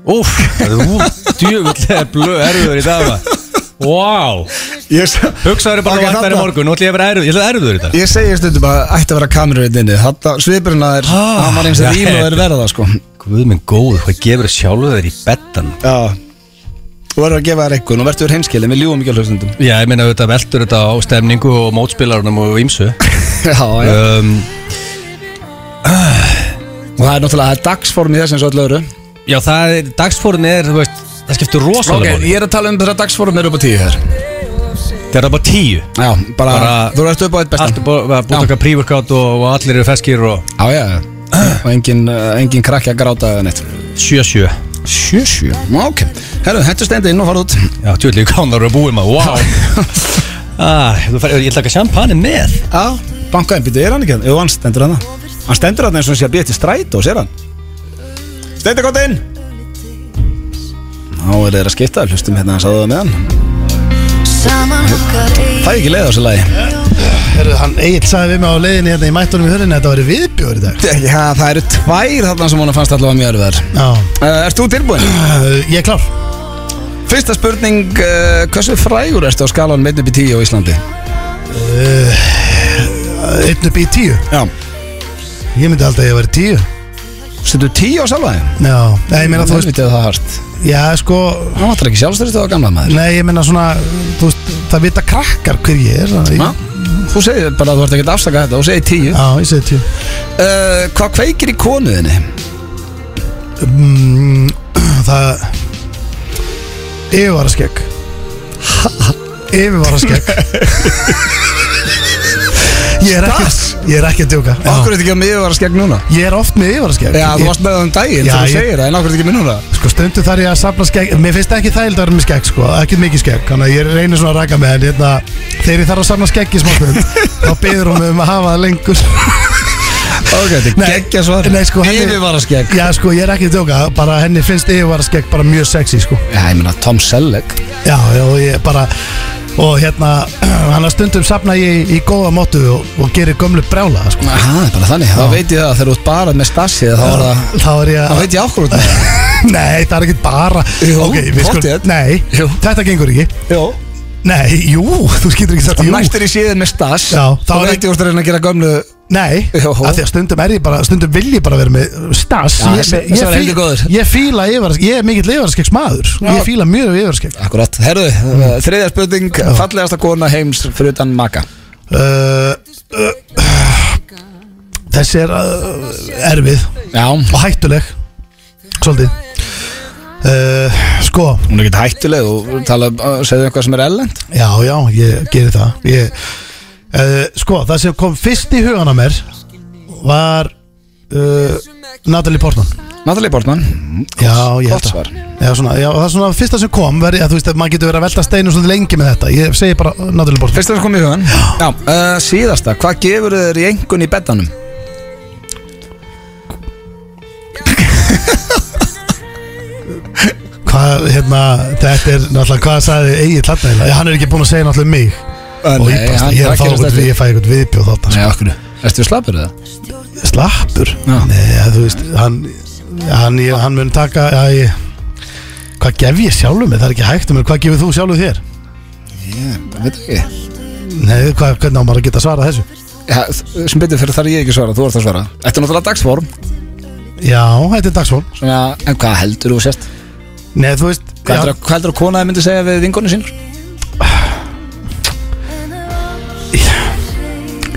Úf Djöfull er blöð erfiður í dag maður. Vá wow. Yes. Hugsaður bara Ok, okay, vatnar í þarna- morgun Nú ætlum ég að vera erfiður Ég ætla að vera erfiður í dag Ég segi stundum bara, ætti að vera kamerunni Svipurinn að þér, Ah, hann var eins og já, rým og þér þetta- verða það sko Guð minn góð Hvað gefur sjálfu þeir í bettan Já Þú verður að gefa þér einhvern og verður heimskilin, við ljúum ekki á hlustundum Já ég meina auðvitað veltur þetta á stemningu og mótspilarunum og ímsu Já, já um, Og það er náttúrulega það er dagsform í þess eins og öll öðru Já það er Dagsfórun er þú veist Það skiptir Ok, rosalega okay, ég er að tala um þegar dagsform er upp á tíu hér Það er bara tíu Já, bara, Ah. Bara- þú verður upp á eitt bestan Allt er búið að búið okkar prívorkátt og, og allir eru feskir og Já, já, já. og engin, eh, engin krakki að gráta eða neitt sjö sjö Sjö, sjö, ok Herru, hendur stendi inn og fara út Já tjóðlega kánar eru að búið maður Wow ah, þú fer, Ég ætla ekki að champagne með Já, bankaðin býtu, er hann ekki hann? Jú, hann stendur hann Hann stendur hann eins og hann sé að býja til stræt og sér hann Stendi gott inn Ná er þeir að skipta, hlustum hérna að sáðu það með hann Það er ekki leið á þessu lagi Herru, hann Egil sagði við mig á leiðinni hérna í mættunum í hörðinni Þetta væri viðbjóður í dag Já, það eru tvær þarna sem hún fannst allavega mjög örfðar Já, uh, Ert þú tilbúin? uh, ég er klár Fyrsta spurning, uh, hversu frægur ertu á skalan 1 upp í 10 á Íslandi? Einn upp í tíu Já Ég myndi alltaf að ég væri tíu Stendur 10 á sjálfa þig? Já, nei, ég meina þú veist Helviti er það hart Já, sko Hann vantar ekki sjálfstyrst og gamla maður Nei, ég meina svona Þú veist, það vita krakkar hver ég er þannig að Ma? ég- Þú segir bara að þú ert ekkert að afsaka þetta Þú segir tíu Já, ég segi tíu uh, Hvað kveikir í konuðinni? mm, Það Yfirvaraskegg Yfirvaraskegg Ég er ekki Ég er ekki að djóka Já. Okkur er þetta ekki að mig var að skegg núna Ég er oft með yfirvaraskegg Já, þú varst með það um daginn Já, þegar þú ég- segir það En okkur er þetta ekki með núna Sko stundu þar ég að safna skegg Mér finnst ekki þægild að vera með skegg sko Ekkert mikið skegg Þannig að ég reynir svona að raka með En hérna, þegar ég þarf að safna skegg í smáttund Þá byður hún mig um að hafa það lengur Ok, þetta Nei, er geggja svar nei, sko, henni- Yfir var að skegg Já sko ég er ekki að djóka Bara henni finnst yfirvara skegg bara mjög sexy sko Já, ég meina Tom Selleck Já já, og ég bara Og hérna Þannig að stundum safna ég í góða mótu Og, og gerir gömlu brjála sko Aha, það er bara þannig Þá veit ég það að þegar þú ert bara með stassi Þá er það Þá er ég Þá að veit ég okkur út með það Nei það er ekki bara Jú, Ok, við pottþétt. skulum Nei, Jú. þetta gengur ekki Jó Nei, jú, þú skýtur ekki þetta jú Næst er ég séð með stass Já, Þá þá er- veit ég úr að reyna að gera gömlu Nei, Jó. af því að stundum er ég bara stundum vil ég bara vera með stas Já, ég, þessi- ég, þessi var fí- heldur góður. ég fíla yfirvarsk, ég er mikill yfirvarskeks maður Já. ég fíla mjög yfirvarskeks Akkurat, herðu, mm. þriðja spurning Fallegasta kona heims fyrir utan maka uh, uh, þessi er uh, erfið Já, og hættuleg svolítið uh, sko, hún er ekkert hættuleg og tala, uh, segðu eitthvað sem er ellend já, já, ég geri það ég, uh, sko, það sem kom fyrst í hugana mér var uh, Natalie Portman Natalie Portman Já, ég gott held svar. það já, svona, já, það er svona fyrsta sem kom veri, að, Þú veist, að maður getur verið að velta steinu svolítið lengi með þetta Ég segi bara náttúrulega bort Fyrst að það kom í hugan Já, uh, síðasta, hvað gefur þér í engun í beddanum? Hvað, hérna, þetta er náttúrulega Hvað sagði Egil þarna eiginlega? Já, Hann er ekki búinn að segja náttúrulega um mig Uh, Og ég, bara, ég er að fá eitthvað við, ég fæ eitthvað viðbjóð þarna Nei, okkur Erstu við slappur eða? sko. Slappur Já. Nei, ja, þú veist, hann Hann, ég, hann mun taka já, ég, Hvað gef ég sjálfum mig? Það er ekki hægt um Hvað gefur þú sjálfum þér? Ég veit ekki Nei, hvað, hvernig á maður að geta svarað þessu? ja, Sem betur fyrir þar er ég ekki að svara, þú ert að svara Þetta er náttúrulega dagsform Já, þetta er dagsfól Svona, en hvað heldur þú sérst? Nei, þú veist Hvað heldur, hvað heldur að konaði myndi segja við vinkonu sínur?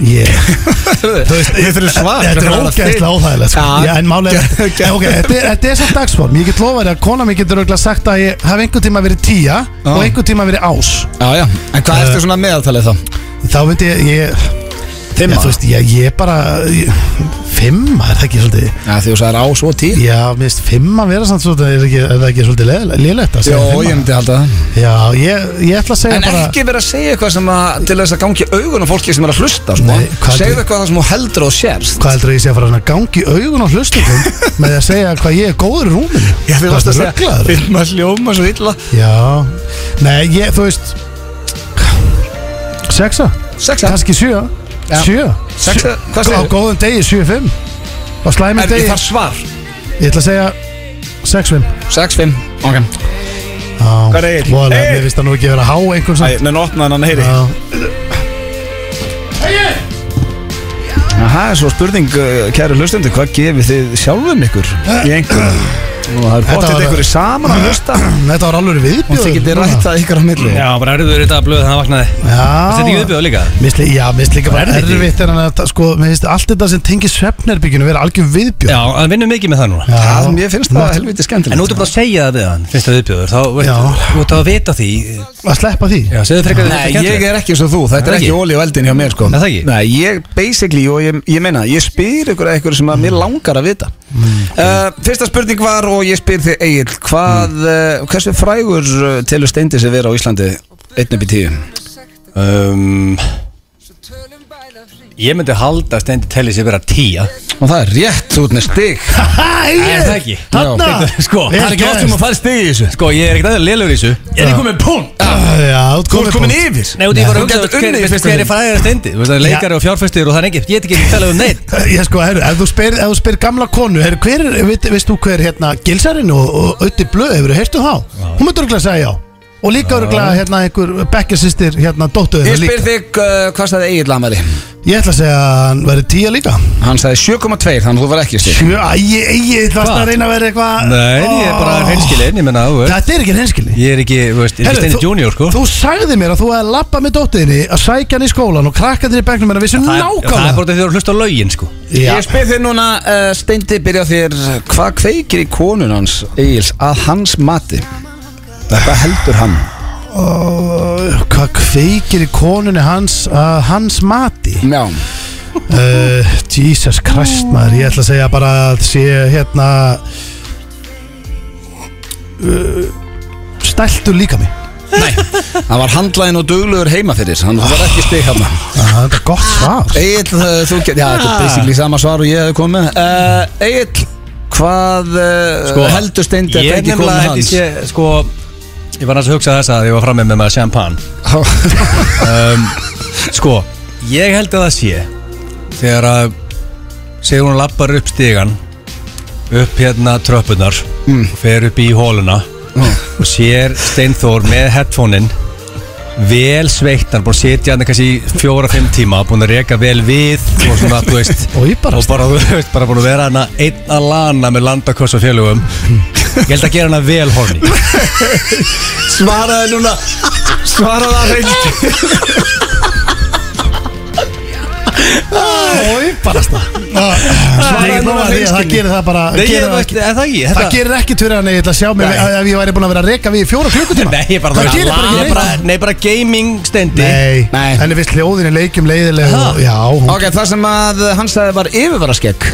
ég þú veist, ég þurfum svar Þetta er ógeðslega óþægilegt sko. Já. Já, en málið er Ge- ge- En ok, Þetta er- þetta er samt dagsform Ég get lofa þér að kona mér getur auðvitað sagt að ég hef einhvern tíma verið tíja Já. og einhvern tíma verið ás Já, já, en hvað ertu svona meðaltalið þá? Þá myndi ég, ég Fimm Já, þú ára? veist, ég, ég bara ég, Fimma, er það ekki svolítið Já, því þú sagðir á svo tíu Já, mér finnst fimma vera samt svolítið Er, ekki, er það ekki svolítið leðilegt að Jó, ég segja fimma? myndi halda það Já, ég, ég ætla að segja En bara ekki vera að segja eitthvað sem að til þess að gangi augun á fólki sem er að hlusta sko. Nei, hvað Segðu heldur- eitthvað það sem þú heldur og sérst Hvað heldur ég sé að fara að gangi augun á hlustungum með því að segja hvað ég er góður í rúminu þú Það varst að er segja ruglaður. Filma hljóma svo illa Já, nei, ég, þú veist Sexa Sexa Kanski sjö Já. Sjö Sexa, hvað Á segir? góðum degi, sjö fimm Á slæmum Er degi, ég þar svar? ég ætla að segja Sex fimm 6, 5, ok Hvað er Egill? Móðlega, Egill! mér finnst það nú ekki vera há einhvern sem menn opnaði hann heyri Já, Það er svo spurning, uh, kæru hlustendur Hvað gefið þið sjálfum ykkur í einhverjum? Og það er Þetta bóttið var- ykkur saman að hlusta þetta var alveg Og viðbjöð þið getið rættað ykkur á milli Já, bara erður þetta að blöða þannig að vaknaði Þetta er ekki Já viðbjöð líka Misli, já, mér finnst líka bara Er þetta ekki? erfitt er hann að, sko, mér finnst allt þetta sem tengir svefnerbyggjunu vera algjör viðbjöð Já, hann vinnur mikið með það núna Það, mér finnst það helviti skemmtilegt En nú ertu bara að segja það við hann, finnst það viðbjöður Þá Já. veit- þú ert að vita því Að sleppa því Já, segðu frekar að Nei, þetta ég er er ekki eins og þú, þetta Er er ekki ekki? óli á eldin hjá mér sko Er það ekki? Nei, ég basically, og ég, ég meina, ég spyr ykkur að ykkur sem að mér langar að vita Mm. uh, Fyrsta spurning var, og ég spyr þig Egil, hvað, Mm. uh, hversu frægur uh, telur steindi sem vera á Íslandi 1 upp í 10? um, Ég myndi halda að stendi telli sér vera tíja Og það er rétt út með stig Er það ekki? Þarna! Já. Sko, Vel það er ekki oft sem gert. að fara stig í þessu Sko, ég er ekkert aðeins lélur í þessu Ég er ekki komið punkt Já, þú ert Þú ert komin komin í punkt. yfir Nei, út í Þú bara getur unnið Veist hver er fræðir að stendi? Þú veist það er leikari og fjárfæstir og það er engin Ég get ekki talað um neitt Ég sko, herru, ef þú spyr, ef þú spyr gamla konu herru, hver, er- veit, Veist þú hver hérna Gilsarinn og, og Ötti Blöð hefur Heyrstu þá? Hún myndur örgulega að segja já Og líka örgulega hérna einhver bekkjarsýstir Hérna dóttu Ég þeirra spyr líka þig, uh, hvað staði Egil hann væri? Ég ætla að segja að hann verði tíja líka Hann sagði 7,2, þannig að þú var ekki stig Sjö, æ, ég, ég ætla Hva? að reyna að vera eitthvað Nei, ég er bara Ó, hreinskilinn Ég menna, þú veist Þetta er ekki reynskilni Ég er ekki, þú veist, ég er stendi junior, sko þú sagði mér að þú hefði labbað með dóttiðinni að sækja hann í skólan og krakkaðinni í bekknum en að vissu Það er- Það er nákvæmlega bara því að þú eru að hlusta á lögin, sko Já. Ég spyr þér núna, uh, Steindi, byrja á þér Hvað kveikir í konun hans, Egils, að hans mati? Hvað heldur hann? Ó, Hvað kveikir í konunni hans að hans mati? Mm. Já, Uh, Jesus Christ maður Ég ætla að segja bara að sé hérna uh, Stæltur líka mig hann var handlæðin og duglugur heima fyrir Hann var ekki stig hann ah, Þetta er gott svar Egil, uh, þú get, já, þetta er basically sama svar og ég hefði komið uh, Egil, hvað uh, heldur Steindi að Sko, Ég er kveiki nefnilega konun held ég hans? sé, sko Ég var næst að hugsa þess að ég var frammi með maður champagne um, Sko, ég held að það sé Þegar að Segur hún lappar upp stígan Upp hérna tröppunar Mm. Og fer upp í hóluna Og sér Steinþór með headphone-in Vel sveittan Búin að setja hann kannski í fjóra-fimm tíma Búin að reka vel við Og svona, þú veist Og ég bara og bara, þú veist, bara búin að vera hana einn að lana með landakoss og fjölugum ég held að gera hana vel horni Svaraði núna, svaraði að reyndi Og ég bara stað Svaraði nú að því að það gerir það bara Nei, ég gerir hef það ekki, er það ekki Það þetta, gerir ekkert fyrir hann, ég ætla að sjá mig Nei. að- ef ég væri búin að vera að reka við í fjóra klukkutíma Nei, ég bara, Það bara, gerir bara ég ekki bara, neitt nei, bara gaming stendi Nei, Nei. henni finnst hljóðin í leikjum leiðileg og, Ha? Já, hún, Ok, það sem að hann sagði var yfirvaraskegg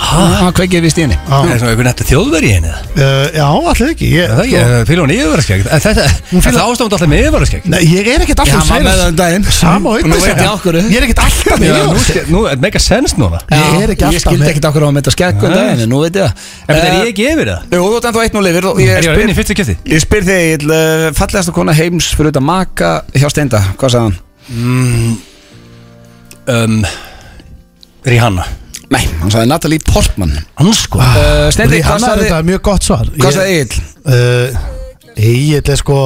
Hann kveikið vist í henni á, Það er svona einhvern nættu þjóðveri í henni eða? uh, já allir ekki ég, Er Það sko- er ekki, fylgum hún yfirvaraskegg En þetta, en það ástofnd alltaf með yfirvaraskegg Nei, ég er ekkert Ég alltaf var með það um daginn. Sama Nú veit ég af hverju. Ég er ekkert alltaf með Já, Eh, yfirvaraskegg. nú ske- Nú, þetta meika sens núna Ég er ekki alltaf Ég skildi með- ekkert okkur á að mynda skegg um Nei. daginn, en nú veit ég En það þetta er ég ekki yfir það Jú, þú ert ennþá eitt nú lifir og Er ég ég að vinna í spyr, fyrstu kjöfti? ég spyr þig, ég ætla, uh, fallegasta kona heims fyrir utan maka hjá Steinda, hvað sagði hann? Um, Rihanna Nei, hann sagði Natalie Portman Ansko uh, Steindi, hvað Hann er sagði, þetta mjög gott svar hvað sagði Egil? Egil? Egil er sko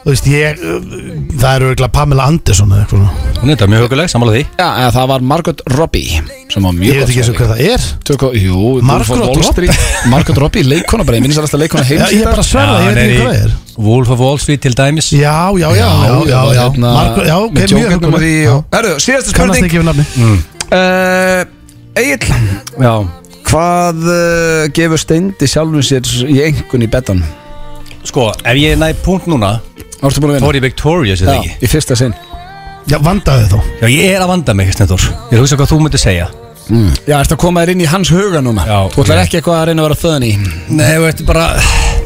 Þú veist, ég, uh, það eru örgulega Pamela Anderson eða eitthvað svona. Hún er þetta mjög huguleg, sammála því Já, eða það var Margot Robbie sem var mjög Ég veit ekki eins og hver það er Tökum, jú, Margot Wolf of Wall Street. Margot Robbie, leikona bara, ég minnst alltaf leikona Já, heims Ég er bara Ah, að sverða, ég veit ekki hver það er Wolf of Wall Street til dæmis Já, já, já, já, já, já hérna, Marko, já, ok, með hérna mjög jókernum og því huguleg og- Herru, síðasta Kannast spurning ekki um við nafni uh, Egil, Já, hvað uh, gefur steindi sjálfum sér í engun í betan? sko, ef ég næ punkt núna Árstu búin að Þá vinna? er ég victorious, eða Já, ekki í fyrsta sinn Já, vandaði þó Já, ég er að vanda mig, Stendur Ég er að hugsa hvað þú myndir segja Já, ertu að koma þér inn í hans huga núna Já, Þú ætlar ég- ekki eitthvað að reyna að vera þöðan í Nei, þú ert bara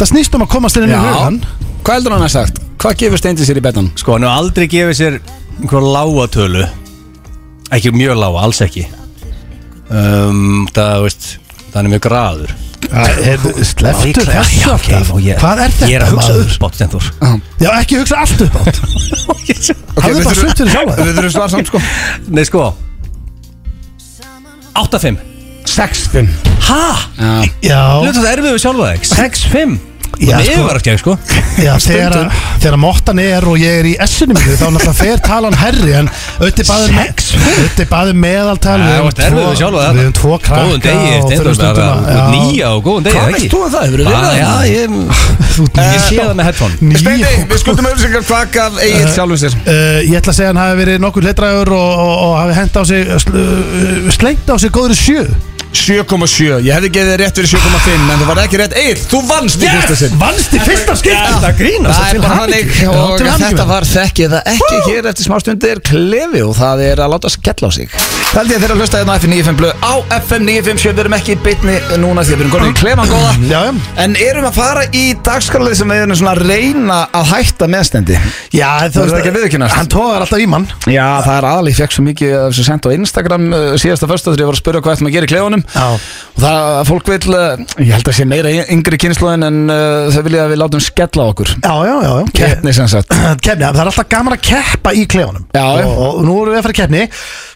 Það snýst um að komast inn í hugan Hvað heldur hann að sagt? Hvað gefur steindi sér í betan? Sko, hann hefur aldrei gefið sér einhver lága tölu Ekki mjög lága, alls ekki um, Það, þú veist, það er mjög graður Sleftu Líklega, þessu já, ok, alltaf og ég- Hvað er Ég er þetta að hugsa um maður? uppátt, Stendur Já, ekki hugsa allt upp átt Hafðu bara sumt fyrir sjálfa þér. Við þurfum svar samt sko Nei, sko 8-5 6-5 Hæ? Já, Já, Hlutu það erfið við sjálfa þig 6-5 Já, Það sko. meður ekki, sko já þegar, að- þegar mottan er og ég er í S-inu mínu þá náttúrulega fer talan herri en um auðvitað baðum auðvitað baðum um meðaltal Já, þú við höfum ert erfið við tvo- sjálfa þig við höfum tvo krakka Góðan degi, og Stendur þurfum stundum að- já. Nýja og góðan degi, Hvað ekki? veist þú um það? Hefurðu verið Bara, að- Já, ég Ég sé það með headphone Nýja- Steindi, við skuldum auðvitað hvað gaf Egil sjálfum sér Uh, ég ætla að segja hann hafi verið nokkur letræður og, og, og hafi hent á sig sl, uh, slengt á sig góður sjö 7,7 Ég hefði gefið þér rétt fyrir 7,5 En þú var ekki rétt Egil, þú vannst í fyrsta sinn vannst í fyrsta skipti Það grínast Það er bara hannig og þetta var þekki eða ekki hér eftir smá stundir klefi og það er að láta skella á sig Það held ég að þeirra að hlusta hérna á FM 95 blöð á FM 95 við erum ekki í bitni núna því að við erum konin í klefan góða Já, já. En erum að fara í dagskarlið sem við erum svona að reyna að hætta meðstendi Já, þú Það er ekki að viðurkennast. Hann tóðar alltaf í mann Já, það er aðlíf, ég fekk svo mikið af þessu sendt á Instagram uh, síðasta fyrsta þegar ég var að spyrja hvað ætlum að gera í klefunum Já. og það fólk vil, uh, ég held að sé meira yngri kynnslóðin en uh, þau vilja að við látum skella á okkur Já, já, já, já. Keppni sem sagt Keppni, það er alltaf gaman að keppa í klefanum Já, já. og, og nú erum við að fara í keppni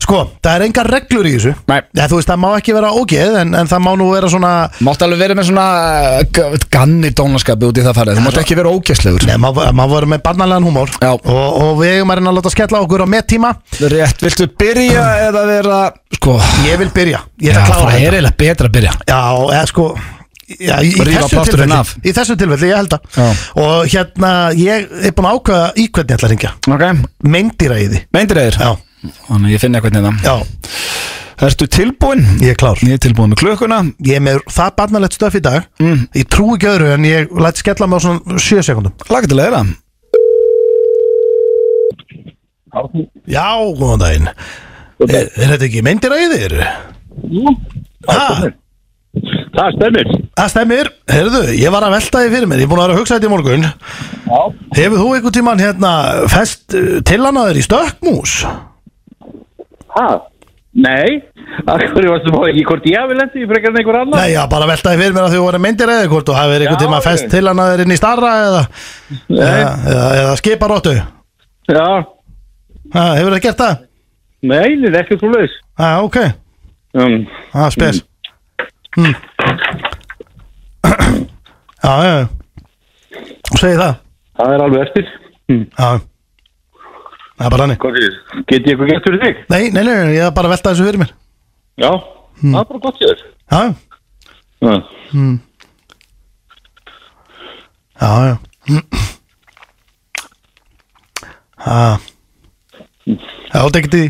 Sko, það er engar reglur í þessu Nei. ja, Þú veist, það má ekki vera ógeð en, en það má nú vera svona Mátt alveg verið með svona uh, g- ganni dónaskapi út í það farið Þú mátt ekki vera ógæslegur Nei, maður má vera með barnalega húmór Já. og, og við eigum að reyna að láta skella á okkur á mettíma Rétt, viltu byrja eða vera Sko, Ég vil byrja, ég Já, ætla að klára það þetta. er eiginlega betra að byrja Já, eða sko já, í, í, Rífa þessu plásturinn af. tilfelli, í þessu tilfelli, ég held að Já. Og hérna, ég er búin að ákveða í hvernig ég ætla að ringja Ok, Meindýra í því meindir eður Já, Þannig ég finn eitthvað neða já, Ertu tilbúin? ég er klár Ég er tilbúin með klukkuna Ég er með það barnalegt stöf í dag mm. Ég trú ekki öðru en ég læt skella mig á svona 7 sekundum Lagt til að eða Já, góðan daginn Er, er þetta ekki meindýra í þér? Ha, Það stemmir. það stemmir, heyrðu, ég var að velta því fyrir mér, ég er búin að vera að hugsa þetta í morgun Já. Hefur þú einhvern tímann hérna fest uh, tilhanaður í stökkmús? Hæ? Nei. Akkur varstu bara ekki hvort ég hafi lendið í frekar en einhver annar? Nei, já, bara veltaði fyrir mér að þau voru myndir eða hvort og hafið þér einhvern Já, tíma ég- fest til hann að þeir inn í starra eða, eða, eða, eða skiparóttu ha, Já. Hefur það gert það? Nei, það er ekkert svo laus. Ha, ok, Um, ha, spes mm. Já, já, já Þú segir það það er alveg eftir. Hmm. Já, það er bara hannig Hvað er þetta? Get ég eitthvað gert fyrir þig? Nei, nei, nei, nei, ég er bara að velta þessu fyrir mér Já. Það er bara gott ég þér. Hm. Já, Já. já, já Ha Já, það ekki því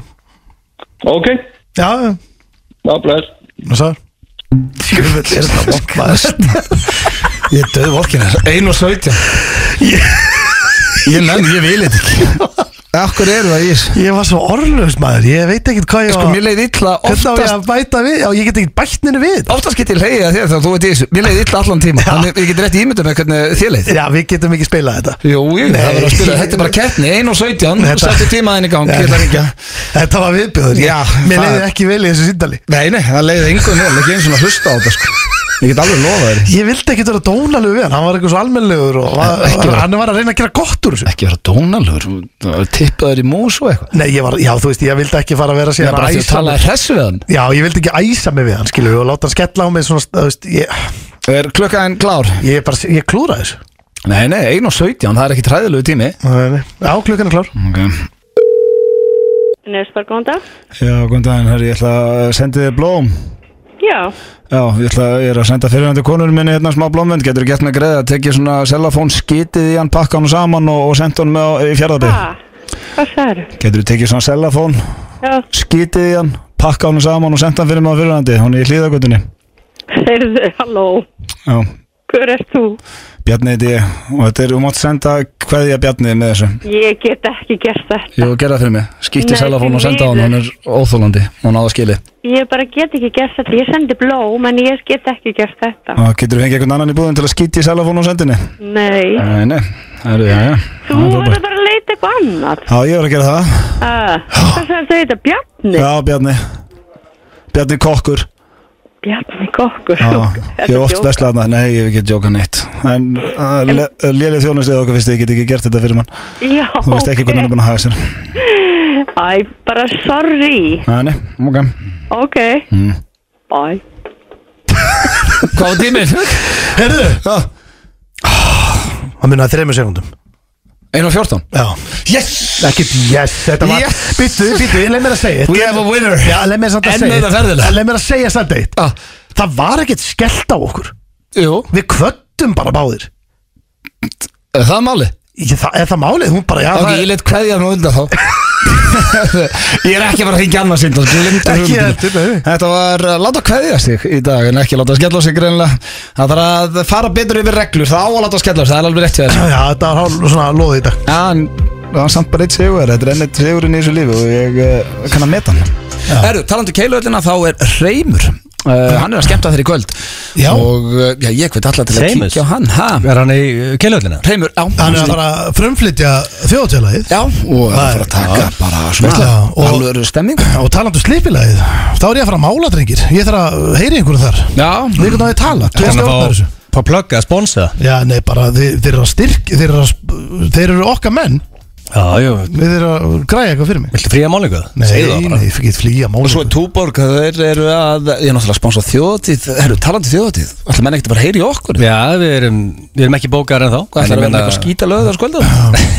Ok. Já, já Það er bara þess. Hvað sagður? Jöfnveld er þetta vokmaðist Ég er döðu volkinar 1 og 17 Ég nenni, ég vil þetta ekki Akkur eru það í þessu Ég var svo orðlaus maður, ég veit ekkert hvað ég Sko, var mér leið illa Hvernig á ég oftast að bæta við, já ég get ekkert bætt nynni við þetta. Oftast get ég leiðið að þér þegar þú veit í þessu Mér leið illa allan tíma Þannig ég get rétt ímyndum með hvernig þér leið Já, við getum ekki spilað þetta Jú, jú, Nei. það verður að spila, þetta er bara keppni 1 og 17, Þetta- settu tímaðin í gang, geta ringja Þetta var viðbjöður, Já, mér það- leiði ekki vel í þessu síndali Nei, nei, það leiði yngur vel, ekki eins og að hlusta á þetta sko. Ég get alveg lofa þér Ég vildi ekkert vera dónalegu við hann, hann var eitthvað svo almennlegur og var, Ekki vera- hann var að reyna að gera gott úr þessu Ekki vera dónalur, tippaður í mús og eitthvað Nei, ég var, já þú veist, ég vildi ekki fara að Það vera er síðan bara að því að æsa tala mig hressu við hann Já, ég vildi ekki æsa mig við hann, skilur við, og láta hann skella á mig svona, þú veist, ég, Er klukkaðin klár? ég, bara, ég klúra þessu Nei, nei, 1 og 17, það er ekki træðilegu tími Já, klukkan er klár Ok Nesbar, góðan dag. Já, góðan daginn, herri, ég ætla að sendi þið blóm Já, Já, ég ætla að, ég er að senda fyrirhandi konur minni hérna smá blómvend, getur gert mig greið að tekja svona sellafón skitið í hann, pakka hann saman og, og senda hann með á, í fjárðabíð hvað? Hvað sagður? Getur tekið svona sellafón, Já, skitið í hann, pakka hann saman og senda hann fyrir mig á fyrirhandi, hún er í hlýðagutinni heyrðu, halló, Já, hver ert þú? Bjarni heiti ég og þetta er, þú mátt senda hvað ég Bjarni með þessu Ég get ekki gert þetta. Jú, gerða fyrir mig, skýtti Nei, sellafón og því senda hann, miður. hún er óþólandi, hún áða skili Ég bara get ekki gert þetta. Ég sendi blóm, en ég get ekki gert þetta. Og getur þú fengið einhvern annan í búðin til að skýtti sellafón og sendinni? Nei, Nei, nei, herri, já, já, það þú er verður frábært. bara að leita eitthvað annað. Já, ég var að gera það Uh, hvað sagður þau þetta? Bjarni? Já, Bjarni Bjarni kokkur Bjarni kokkur. Já, Þetta Ég er er oft djók. veslað hana, nei, ég hef ekki að djóka neitt En uh, le- uh, lélið þjónustið okkar fyrst ég get ekki gert þetta fyrir mann Já, Þú veist ekki hvernig hann er búin að hafa sér Æ, bara sorry. Nei, nei, ok Ok. Mm. Bye. Hvað var tíminn? Herðu Já. Það munið að þreymur sekundum 1 og 14 Já Yes! Ekkert yes Þetta var Yes. Býttu, býttu Leð mér að segja eitt. We have a winner Já, leð mér samt að Enn segja meira ferðilega. Leð mér að segja samt eitt Ah, Það var ekkert skellt á okkur Jú, Við kvöttum bara báðir er það er máli Ég, það, er það málið? Hún bara, já, Ok, það ég let kveðja nú undan þá Ég er ekki að fara að hringja annars inn Ekki Þetta heldur, nei. var uh, Láta kveðja sig í dag En ekki láta skella á sig greinlega Það þarf að fara betur yfir reglur Það á að láta skella á sig, það er alveg rétt hjá þér Já, þetta var hálf- svona loðið í dag Já, en það var samt bara eitt sigur Þetta er enn eitt sigurinn í þessu lífi og ég uh, kann að meta hann Herru, talandi um keiluöllina þá er Reymur uh, Hann er að skemmta þér í kvöld Já. Og uh, já, ég veit alltaf til að Hreimur? kíkja á hann ha? Er hann í keilöldina? Reymur, já Hann er að bara frumflytja þjóðtélagið Já, og það er að taka bara svona Veistlega, og- Alvöru stemming Og talandu slipilagið Þá er ég að fara að mála, drengir Ég þarf að heyri einhverju þar Já, Við erum að tala Tveir Þannig stjórnar að þessu fá, fá plugga að sponsa það? Já, nei, bara þeir, þeir eru að styrk Þeir eru, að, sp- þeir eru okkar menn Já, jú, Við eru að græja eitthvað fyrir mig viltu fría málingu það? Nei, Segðu það bara nei, ég fikk eitt flýja mála Og svo er Túborg, þeir eru að, ég er náttúrulega að sponsa þjóðatíð, þeir eru talandi þjóðatíð, ætla menn ekkert að bara heyri okkur, Já, við erum, við erum ekki bókar en þá hvað ætla að vera með eitthvað skýta löðu þar skvölda?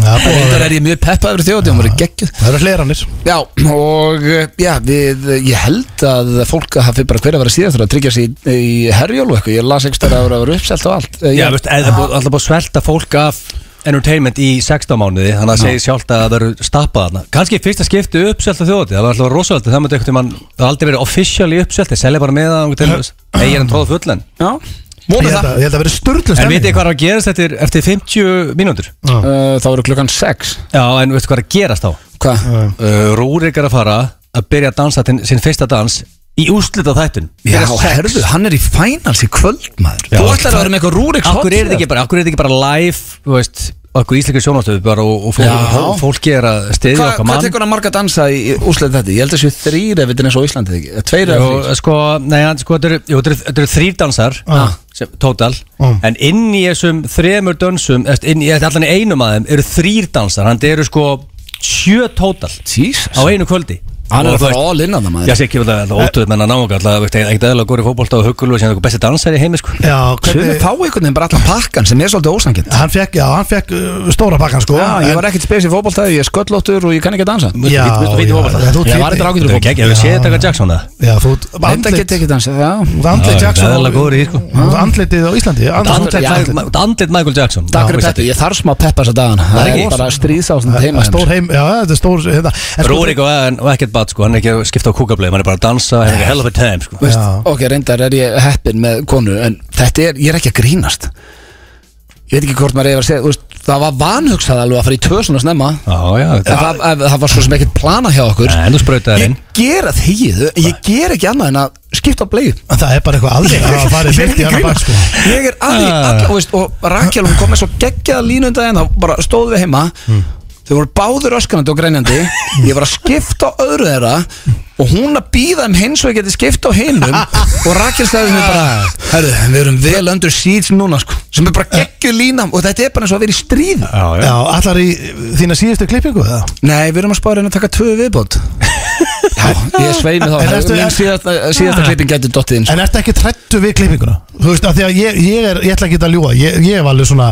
ja, Þeir er ég mjög peppa yfir þjóðatíð, hann verið geggjuð. Það eru hleranir Já, og eh, já, við, ég held að fólk að hafi bara hver að vera síðan þar að tryggja sig í, í herjól og eitthvað, ég las einhverstað að vera uppselt og allt. Eh, Já, ég- veist, eða það er búið- alltaf búið að svelta fólk af entertainment í 16 mánuði þannig að segja sjálft að það verður stappað þarna kannski í fyrsta skipti uppselta þjóðati það var alltaf rosalega, það myndi einhvern tímann það har aldrei verið official í uppselti, selja bara með það til, nei, ég er en tróð fullan Já, Ég vonið held það. að, ég held að vera störtlu en vitið þið hvað er að gerast eftir, eftir 50 mínútur? Eh, Þá eru klukkan 6, Já, en veitu hvað er að gerast þá? hvað? Uh, Rúrik er að fara að byrja að dansa til, sinn fyrsta dans í úslita þættun Já, herðu, hann er í finals í kvöld, maður. Þú ætlar að vera með eitthvað Rúriks Akkur er þetta ekki bara, akkur er þetta ekki bara live, þú veist, okkur íslika sjónastöðu bara og, og fólk, Já. og fólki er að stiðja Hva, okkar hvað mann tekur hann marga dansa í úsleita þetta? Ég held að séu þrýr ef þetta er eins og Íslandið ekki Eða Tveir eða Jú, þrýr sko, nei, hann- sko, þetta eru- jú, þetta eru þetta eru þrýr dansar Ah. sem, total, Ah. en inn í þessum þremur dansum, eða, inn í eða allan í einum af þeim eru þrýr dansar, hann eru sko sjö total á Jesus einu kvöldi Hann er að Og þú fara veist- all in að það Já, maður sé ekki að það ótrúð menn að ná okkar alltaf, veist, ekkert eðla góri fótbolta og huggulu og síðan eitthvað besti dansar í heimi, sko Já, Sumi hvernig fá einhvern veginn bara allan pakkan sem er svolítið ósangind Hann fekk, já, hann fekk uh, stóra pakkan sko Já, ég var ekkert spes í fótboltaði, ég er sköllóttur og ég kann ekki að dansa Já, Þú veit í já, fótbolta. já, þú ert Ég fínn. var eitthvað ágætur í fótbolta. Ég sé þetta eitthvað Jackson, það Já, þú ert Þetta andlit get ekki dansa, já Þú ert andlit Já, Jackson það er góður í því, sko. Þú ert andlitið á Íslandi Andlit, andlit- andlit, andlit- andlit, andlit Michael Jackson Takk fyrir Já, Peppi, ég þarf smá Peppa þessa dagan Það Það er er ekki- bara stríðsásn Það teima er Stór hennar heim, já, þetta er stór hérna, en sko- Rúrik og, og ekkert bat sko, hann er ekki að skipta á kúkablið, hann er bara að dansa, hann er ekki hell of a time sko. Veist, Já. Ok, reyndar er ég heppin með konu En þetta er, ég er ekki að grínast Ég veit ekki hvort maður er að segja þú veist, Það var vanhugsað alveg að fara í töð svona snemma Já, já, En þetta- það, ef- það var svo sem ekkert planað hjá okkur Nei, þú sprautaðir inn. Ég gera þegið, ég gera ekki annað en að skipta á bleið En Það er bara eitthvað aðrið að það farið byrkt í hann bak sko Ég er að því, alla, og veist, og Rakel hún kom með svo geggjaða um línunda en þá bara stóðu Hmm. við heima þau voru báður öskanandi og grænjandi ég var að skipta á öðru þeirra og hún að býða um hins og ég geti skipta á hinum og Rakel sagði sem er bara herru, við erum vel under siege núna sko sem er bara geggju lína og þetta er bara eins og að vera í stríð Já, Já, allar í þína síðustu klippingu eða? Nei, við erum að spara hérna að taka tvö viðbót Já, ég sveimi þá En Ah. ertu- Mín síðasta, síðasta klipping gæti dottið inn sko. En ertu ekki trættu við klippinguna? Þú veist, af því að ég, ég, er, ég ætla ekki að ljúa ég, ég hef alveg svona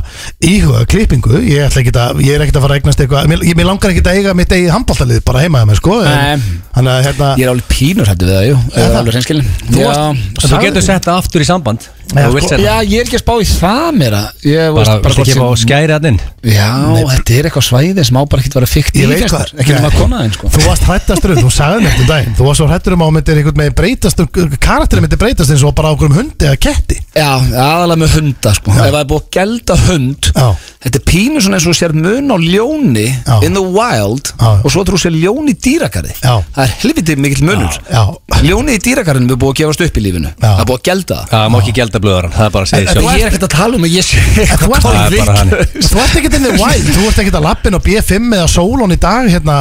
íhuga klippingu Ég, ætla ekki að, ég er ekkert að fara að eignast eitthvað Mér, ég- mér langar ekki að eiga mitt eigið handbóltalið bara heima hjá mér, sko Nei. en, Þannig að hérna Ég er alveg pínur hættu við það, jú Það er alveg reynskilin Þú, Já, varst, þú sagði- getur sett það aftur í samband Já, Þú vilt sko, sett já, það ég er ekki að spá í það mér að Ég Bara, veist bara hvort ekki sem- að skæri hann inn Já, þetta er eitthvað svæði sem á bara ekkert vera fikt í Ég veit finnst hvað- mér. Ekki um að Nei. kona þeim, sko Þú varst hrættastur um, þú sagði mér þetta um daginn Þú varst svo hrættur um að hún myndir einhvern veginn breytast Karakterin myndir breytast eins og bara á okkur um hundi eða ketti Já, aðalega með hunda, sko Ef það er búið að gelda hund Já. Þetta er pínur svona eins og þú sér mun á ljóni Já. In the wild Já. Og svo trú sér ljón í dýragarði Já. Það er helviti mikill munur Já, Ljónið í dýragarðinum er búið að gefast upp í lífinu Já. Það er búið að gelda það Já, má ekki gelda blöðaran, það er bara að segja Ég sjálf er ekkert að tala um að ég sé þú ert- eitthvað Það er bara hann. vitlaus. Þú ert ekkert inn í wild, þú ert ekkert að lappin á B5 eða Solon í dag hérna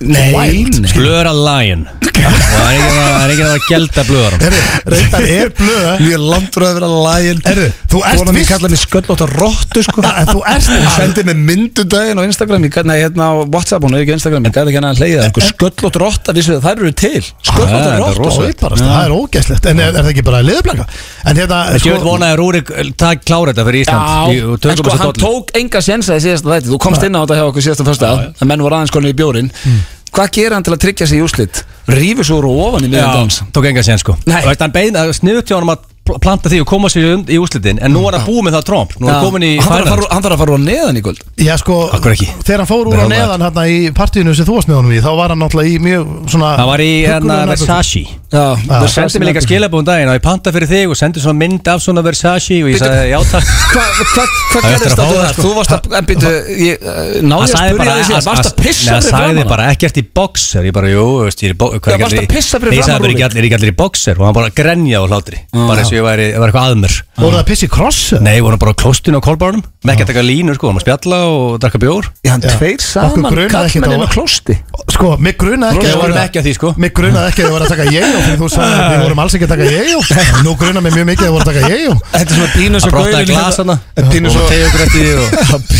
Nei, Wild. nei. Blöðara lion Það er ekki að- það er ekki að gelda blöðaran Heyrðu, Reyndar er eh? blöð Mjög langt frá að vera lægin Heyrðu, þú ert Konan mín viss- kallaði mig sköllótt og róttu sko En þú ert Hún að sendi mig myndudaginn á Instagram Ég gæti hérna á Whatsapp, hún er ekki á Instagram Ég gæti ekki hérna að hleyja það Sköllótt rotta, vissu það, þær eru til Sköllótt Ah, og þetta er róttu rosa. Ói, bara, Það er ógæslegt, en er, er það ekki bara liðblaka? En hérna Ég vil vona að Rúrik takk klára þetta fyrir Ísland Í- og En tökum sko, þessa hann dollu. tók enga sensa í síðasta þætti Þú komst inn á þetta hjá okkur síðasta fyrsta Það menn voru aðeins konið í bjórin Hvað gerir hann til að tryggja sig í úslit? Rífur svo úr og ofan í miðan dans Já, tók enga sér sko Nei. Og Hann beina sniðut hjá hann að pl- planta því og koma sér um í úslitin En nú er hann búið með það tromp Nú er hann komin í hann þarf að final fara- hann þarf að fara á neðan í kvöld Já sko, Akkur ekki. þegar hann fór úr á Brjálæður. neðan hérna í partíinu sem þú varst með honum í þá var hann náttúrulega í mjög svona Það var í hérna, huggulegur nærbuxum. Versace Já, Það það sendi mér líka skilabúðum daginn og ég panta fyrir þig og sendi svona mynd af svona Versace og ég Bíddu. sagði já takk Hvað hva, hva Það er gerðist eftir að fá að þú það, þar? sko. Þú varst að, en byrju, ég uh, náði að sagði spyrja bara- þig síðan, varst að hann- nei, pissa fyrir Hann sagði framan bara ekkert í boxer Ég bara, jú, veist, ég er í bo- hvað er Já, ekki varstu allir að í- pissa fyrir Nei, ég framan sagði bara, Rúrik? ekki allir- er ekki allir í boxer og hann bara grenja á hlátri Bara eins og ég væri, var eitthvað aðmur Voru það pissi kross? Nei, voru hann bara á klóstinu á kolbarnum Með ekki að taka línur, sko, hann var að spjalla og drakka bjór Já, hann Já. tveir Okkur grunaði ekkert saman kallmenn á- hérna inn á klósti Sko, mig grunaði ekki Við að vorum voru- ekki að því, sko Mér grunaði ekki að þið voru að taka ég og þú sagði að við vorum alls ekki að taka ég og nú grunaði mér mjög mikið að þið voru að taka ég og Þetta er svona pínus Hann og brottaði gaurin glas hana Pínus og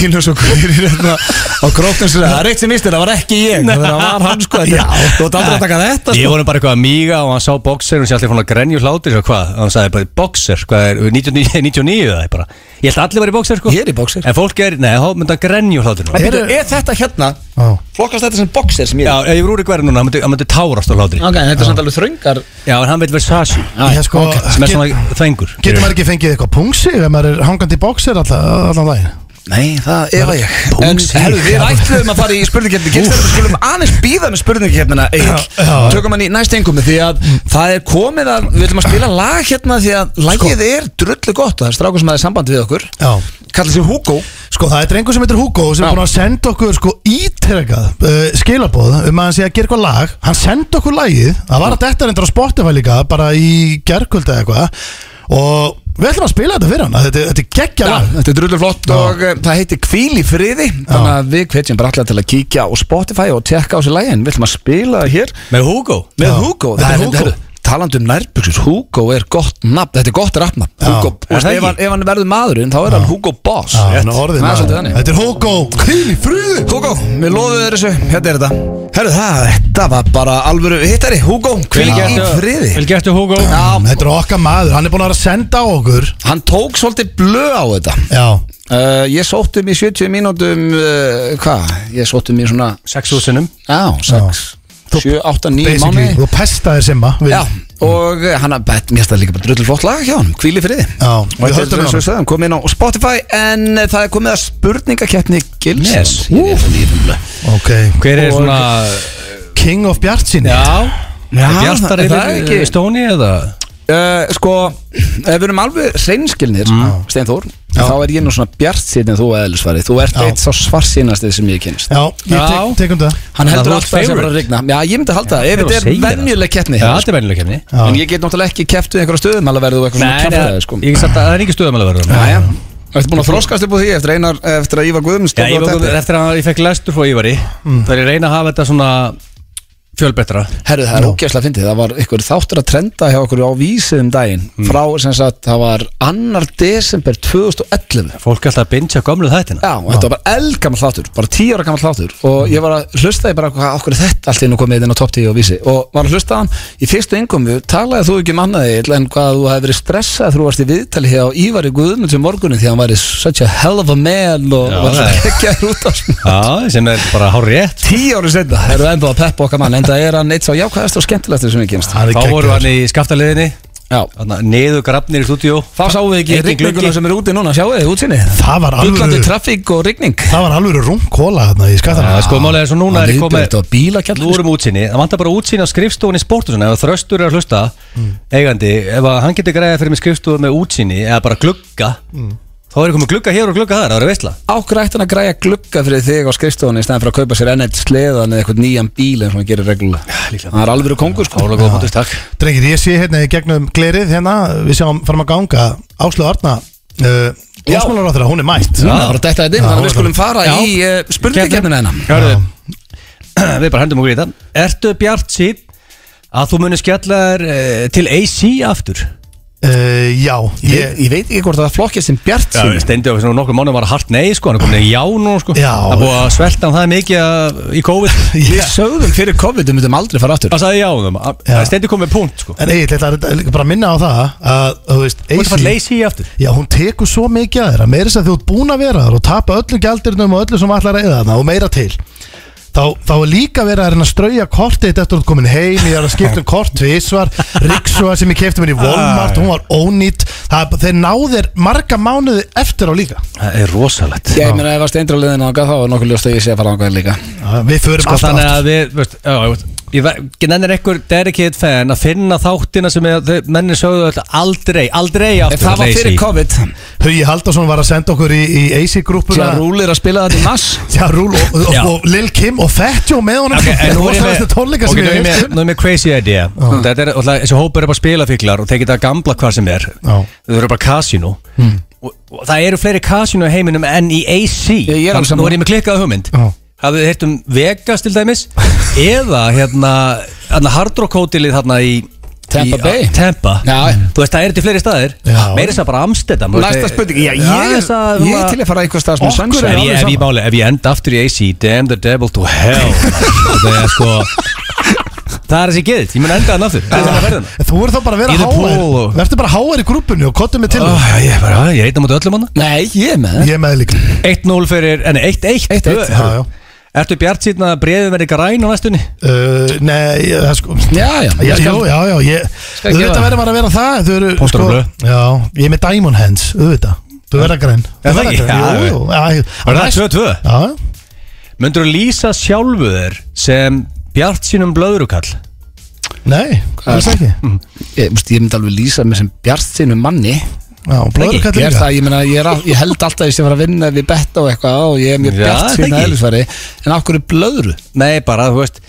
Pínus og gaurin hérna á króknum sinna Það er eitt sem mistir, það var ekki ég Það var hann sko þetta- Þú ert aldrei að taka þetta Ég sko voru bara eitthvað að míga og hann sá boxer og hann sé allir fann að grenja úr hlátri Svo hvað, hann sagði bara boxer, hvað er, 99, 99 það er bara Ég held að allir var í boxer, sko Ég er í boxer. En fólk er, nei, þá myndi að grenja úr hlátri En byrju, Er þetta hérna, Já. flokkast þetta sem boxer sem ég Já, ef ég voru í hverju núna, hann myndi, hann myndi tárast á hlátri Ok, en þetta er samt alveg þröngar Já, en hann veit Versace Ég sko, sem er get- svona þengur Getur maður ekki fengið eitthvað pungsi ef maður er hangandi í bóksir allan allan daginn? Nei, það efa ég En Búngsýr. herru, við ætluðum að fara í spurningkeppni Gilstar, við skulum aðeins býða með spurningkeppnina Egil, tökum hann í næst engum Því að það er komið að Við ætlum að spila lag hérna því að Lagið er drullu gott og það er strákur sem aðeins sambandi við okkur Já Kallar sig Hugo Sko það er drengur sem heitir Hugo sem Já. er búin að senda okkur sko ítrekað uh, skilabóð um að hann sé að gera eitthvað lag hann senda okkur lagið, það var að þetta reyndar á Spotify líka bara í gerkvölda eitthvað og við ætlum að spila þetta fyrir hann að þetta, þetta er geggja lag Þetta er drullu flott og eh, það heitir Kvíl í friði Þannig að við hvetjum bara allar til að kíkja á Spotify og tekka á þessu lagi En við ætlum að spila það hér Með Hugo með Já. Hugo Þetta Það er er Hugo. Hugo Talandi um nærbuxur, Hugo er gott nafn Þetta er gott rapnafn Hugo, Er þú veist, það ef, ekki? hann, ef hann verður maðurinn þá er hann Hugo Boss Já, Rétt. hann er orðið Það er maður. svolítið þannig. Þetta er Hugo, kvíl í friði Hugo, við loðum þér þessu, hérna er þetta Herru það, þetta var bara alvöru hittari Hugo, hvíl í friði Vel gertu Hugo Já, Þetta er okkar maður, hann er búin að vera að senda á okkur hann tók svolítið blöð á þetta Já, uh, Ég sótti um í 70 mínútum uh, Hvað? Ég sótti um í svona Sex húsinum Já, 6, 7, 8, 9 basically, mánuði þú pestaðir Simma við- Já, og eh, hann að bet, mér stæði líka bara drullið flott lag hjá hann, hvíl í friði Já, og við þetta höldum er eins og honum. við sagðum, komið inn á Spotify en eh, það er komið að spurningakeppni Gils Yes. Ok, Hver er svona King of Bjartsinni Já, Er Bjartar það- yfir það er ekki- eh, Stóni eða Uh, sko, ef við erum alveg reynskilnir, Steinþór þá er ég nú svona bjart en þú eðlisfarið þú ert Já. eitt sá svarsýnastið sem ég kynist Já, ég Já. tek, tekum það hann Þannig að heldur þú alltaf ert að það sé bara að favorite. rigna já, ég myndi halda það, ef Þú þetta segir er það. venjuleg keppni Já, hérna, þetta er venjuleg keppni sko. en ég get náttúrulega ekki keppt við einhverja stöðum alveg verður þú eitthvað svona Nei, eh, kjaftaði sko. ég get sagt að það er ekki stöðum alveg verður Jæja. Ertu búin að þroskast upp á því eftir, einar, eftir að Ívar Guðmunds Já, tók ég á var, teppið? eftir að ég fekk lestur frá Ívari mm. Það er ég að reyna að hafa þetta svona fjölbetra Herru, það er ógeðslega fyndið, það var ykkur þáttur að trenda hjá okkur á vísið um daginn frá sem sagt, það var annar desember 2011 Fólk er alltaf að bingja gömlu þættina Já, og þetta var bara eldgammal þáttur, bara 10 ára gammal þáttur og ég var að hlusta ég bara hvað okkur er þetta allt inn og komið inn á top 10 og vísi og var að hlusta hann, í fyrstu yngum talaði þú ekki um mannaði en hvað þú hefði verið stressað þú varst í viðtali hér á Ívari Guðmundsum morgunin því að hann væri such a hell of a man og Já, var það að er. ekki að rúta Já, sem er bara hár rétt Tíu ári setna erum við ennþá að peppa okkar mann en það er hann eitt svo jákvæðast og skemmtilegast sem við kemst Hann er Þá voru geggjaður. hann í skaftaliðinni Já, Niður grafnir í stúdíu Þá sáum við ekki Engin rigninguna gluggi. sem er úti núna, sjáu þið útsinni Það var alvöru- Bullandi traffík og rigning Ah, Það var alveg rungkóla þarna í skattan Já, sko, málega er svo núna er ég viðbjörnt komið og bílakjall Nú erum útsinni, það vantar bara útsinni á skrifstofunni sportusunni ef að þröstur er að hlusta Mm. eigandi, ef að hann getur greiða fyrir mig skrifstofu með útsinni eða bara glugga Mm. þá er ég komið glugga hér og glugga þar, það er veistla Ákveð ætti hann að græja glugga fyrir þig á skrifstofunni í stæðan fyrir að kaupa sér enn eitt sleðan eða eitthvað nýjan bíl eins og hann gerir reglulega líklega. Það er alveg kongur sko Álega góða punktur, takk Drengir, ég sé hérna í gegnum glerið hérna Við sjáum fram að ganga Áslu Arna uh, Já. Ósmálaráþra, hún er mætt Það var að detta þetta inn, Já, þannig að við það- skulum fara Já. í uh, spurningakefnina hennar Hörðu, við bara hendum okkur í þetta Ertu bjart síð að þú munir skella þér eh, til AC aftur? uh, Já, ég, ég, ég veit ekki hvort það flokkist sem bjart Já, sín Steindi á fyrir nokkur mánuðum var hart nei sko, hann er komin í já nú sko Já. Það er búið að svelta hann það mikið að- í COVID Við sögðum fyrir COVID um myndum aldrei fara aftur Það sagði já um Já. það Steindi kom með punkt sko En Egil, þetta er líka bara að minna á það að, þú veist, Þú ert að fara AC leysi í aftur Já, hún tekur svo mikið að þeirra meira þess að þú ert búin að vera þar og tapa öllu gældirnum og öllu sem allar að eða þarna og meira til þá, þá er líka verið að reyna að strauja kortið þitt eftir að þú ert komin heim, ég er að skipta um kort tvísvar, Riksuga sem ég kefti mér í Walmart, hún var ónýtt það, þeir náðir marga mánuði eftir á líka Það er rosalegt Ég meina ef að steindur á liðinu þá var nokkuð ljóst að ég sé að fara ángað líka við förum sko, alltaf þannig aftur að við veist, já, ég veist, ég ve- nennir einhver dedicated fan að finna þáttina sem er- þau- mennir sögðu öll aldrei aldrei aftur Ef það var leysi í. fyrir COVID Hugi Haldarsson var að senda okkur í, í Sjá AC-grúpuna rúlir að spila þetta í mass Já, Rúl og, og, Já. og Lil Kim og Fettjó með honum Ok, en nú er ég rosalegasta með- tónleika ok, sem nú er ég ég hef með- nú er ég með crazy idea Þetta er alltaf, þessi hópur er bara spilafíklar og þeir geta að gambla hvað sem er Já. Þau eru bara kasinu Hmm. og, og það eru fleiri kasinu í heiminum enn í AC Ég- ég er alveg Þannig- sammála. Nú er ég með klikkað hugmynd Já. Hafið þið heyrt um Vegas til dæmis eða hérna, hérna Hard Rock Hotelið hérna í Tampa í- Bay. Tampa Já. Þú veist, það er þetta í fleiri staðir Já. Meira þess að bara Amstedam þú veist, Næsta eh, spurning Já, já, ég þess að- er ég er til að fara eitthvað stað sem Okkur sanns er En ég, alveg ef, ég sama. máli, ef ég enda aftur í AC Damn the devil to hell Það er sko Það er þessi geðið, ég mun enda hann aftur Það er það ferðina Þú verður þá bara að vera Í the pool háar og- Verður bara háar í grúpunni og kottum með til Ó, Ah, já, Ég er bara, já, ég er einn á móti öllum hann Nei, ég er með það. Ég er með líka 1-0 fyrir, en 1-1 1-1, Þú- já, já. Ertu bjart síðan að breyðum verið græn á næstunni? uh, Nei, ég- það er sko Já, já, Já, ég skal já, já, já, ég, Skal þú gefa veit að það. verður maður að vera það Þú eru, sko- Punktur og blöð. já, ég er með Diamond Hands, þú veit það Þú verður Er græn Þú það verður ekki? græn, Já, jú, jú já, ég- Var það næst- 2-2? Já, Möndur þú lýsa sjálfu þér sem bjart sínum blöðrukall? nei, alls ekki Hm. ég, múst, ég myndi alveg lýsa mig sem bjartinu manni Já, blöður ég, er kallir það, ég, meina, ég, er all, ég held alltaf að ég sé að fara að vinna við betta og eitthvað og ég er mjög Já, það bjartinu ekki. eðlisfæri en af hverju blöðru Nei, bara, þú veist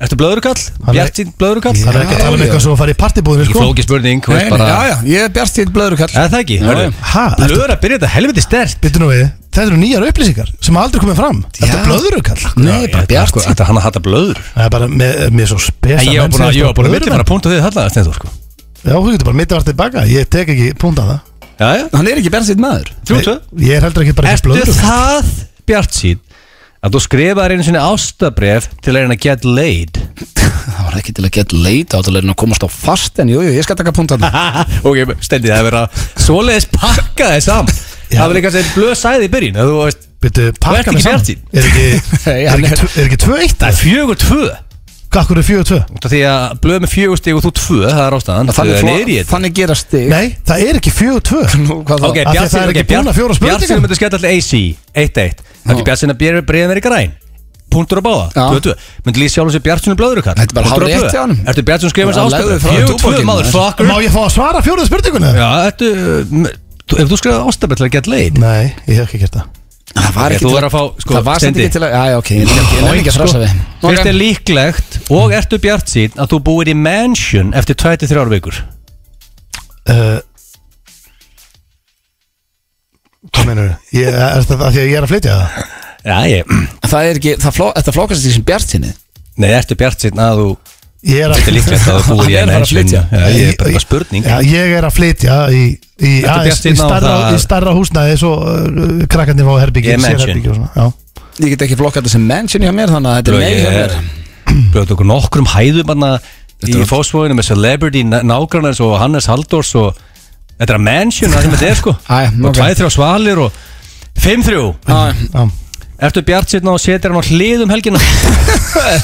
Ertu blöðrukall? Hann er- Bjart sín blöðrukall? Það er ekki að tala um Já, eitthvað já. svo að fara í partibúðinu, Ekki sko flóki spurning, þú Nei, veist nei, bara já, já, ég er bjartinu blöðru kall Er það ekki? Já, Hörðu, já. Ha, ertu- Blöður að byrja þetta helviti stert Býttu nú við, þetta eru nýjar upplýsingar sem aldrei komið fram Þetta Já. er blöðurukall Nei, Já, bara ég- sko, bjartinu Þetta er hann að hata blöður Það er bara með, með svo spesa En ég var búin að, ég sko var búin að myndi fara að púnta því þarna Stenþór sko Já, þú getur bara mitt að vera tilbaka Ég tek ekki púnt að það Já, já, Hann er ekki bjartinu maður þrjú, tvö Ég er heldur ekki bara ekki Ertu blöðurukall það bjart sín að þú skrifaðir einu sinni ástabref til að reyna að get laid Það var ekki til að geta leita á til að reyna að komast á fast en jú, jú, ég skal taka punkt hann Ok, stendi það er verið að svoleiðis pakka þið saman Já. Það var líka sem blöð sæði í byrjun að þú veist, Býttu, pakka ekki mig saman bjartsýnn. Er ekki, Nei, er hann ekki, er- tv- er ekki tvö eitt? Það er fjögur tvö Hvað, hverju fjögur tvö? Út af Því að blöð með fjögur stig og þú tvö Það er ástæðan Þannig, Þannig er fló, ég þetta. þannig gerast þig Nei, það er ekki fjögur tvö Hvað þá? Ok, Af því að Bjartsinn það er ekki búin að fjóra spurningar. Bjartsinn myndi skella allir AC 1-1 Þannig Bjartsinn að byrja breiðan verið græn Puntur á báða, Já. 2-2 Myndi lýst sjálfum sér Bjartsinn um blöður ykkar Þetta er bara hár rétt hjá honum. Ertu Bjartsinn skrifast Já, ástæður legðu frá þér túborginn, 4-2 maður maður. fucker Má ég fá að svara fjóruð spurningunni? Já, ertu m- þú- Ef þú skrifaði ástæður til að get leið Nei, ég hef ekki gert það Það var Ok, ekki þú til verður að fá, sko, Það var samt Steindi. sko. ekki til að Já, já, ok, ég nenni- ég nefn ekki að frasa við Fyrst er líklegt og ertu Bjartsinn að þú búir í mansion eftir 23 vikur uh, Hvað meinur þú? Er það af því að ég er að flytja það? Já, ég Það er ekki, það fló, þetta flókast ekki sem bjartinni Nei, ertu bjart sinn að þú Ég er að Þetta er líklegt að þú búir í Hann er að fara að NNN, flytja. Já, ég er bara bara spurning Já, ég er að flytja í, í, Ertu aðeins- í, bjartsýnn á starra, það- í starra húsnæði svo uh, krakkandi fá herbyggi, Ég er mansion. sérherbyggi og svona Já, Ég get ekki flokkað þetta sem mention hjá mér þannig að þetta er nei hjá mér Blöðu okkur nokkrum hæðum hann í fósfóðinu með celebrity nágrannars og Hannes Halldórs og Þetta er að mansion það sem þetta er sko Æ, Og ok. tvæð þrjá svalir og Fimm þrjú Já, já. Ertu bjart sinn og setir hann á hlið um helgina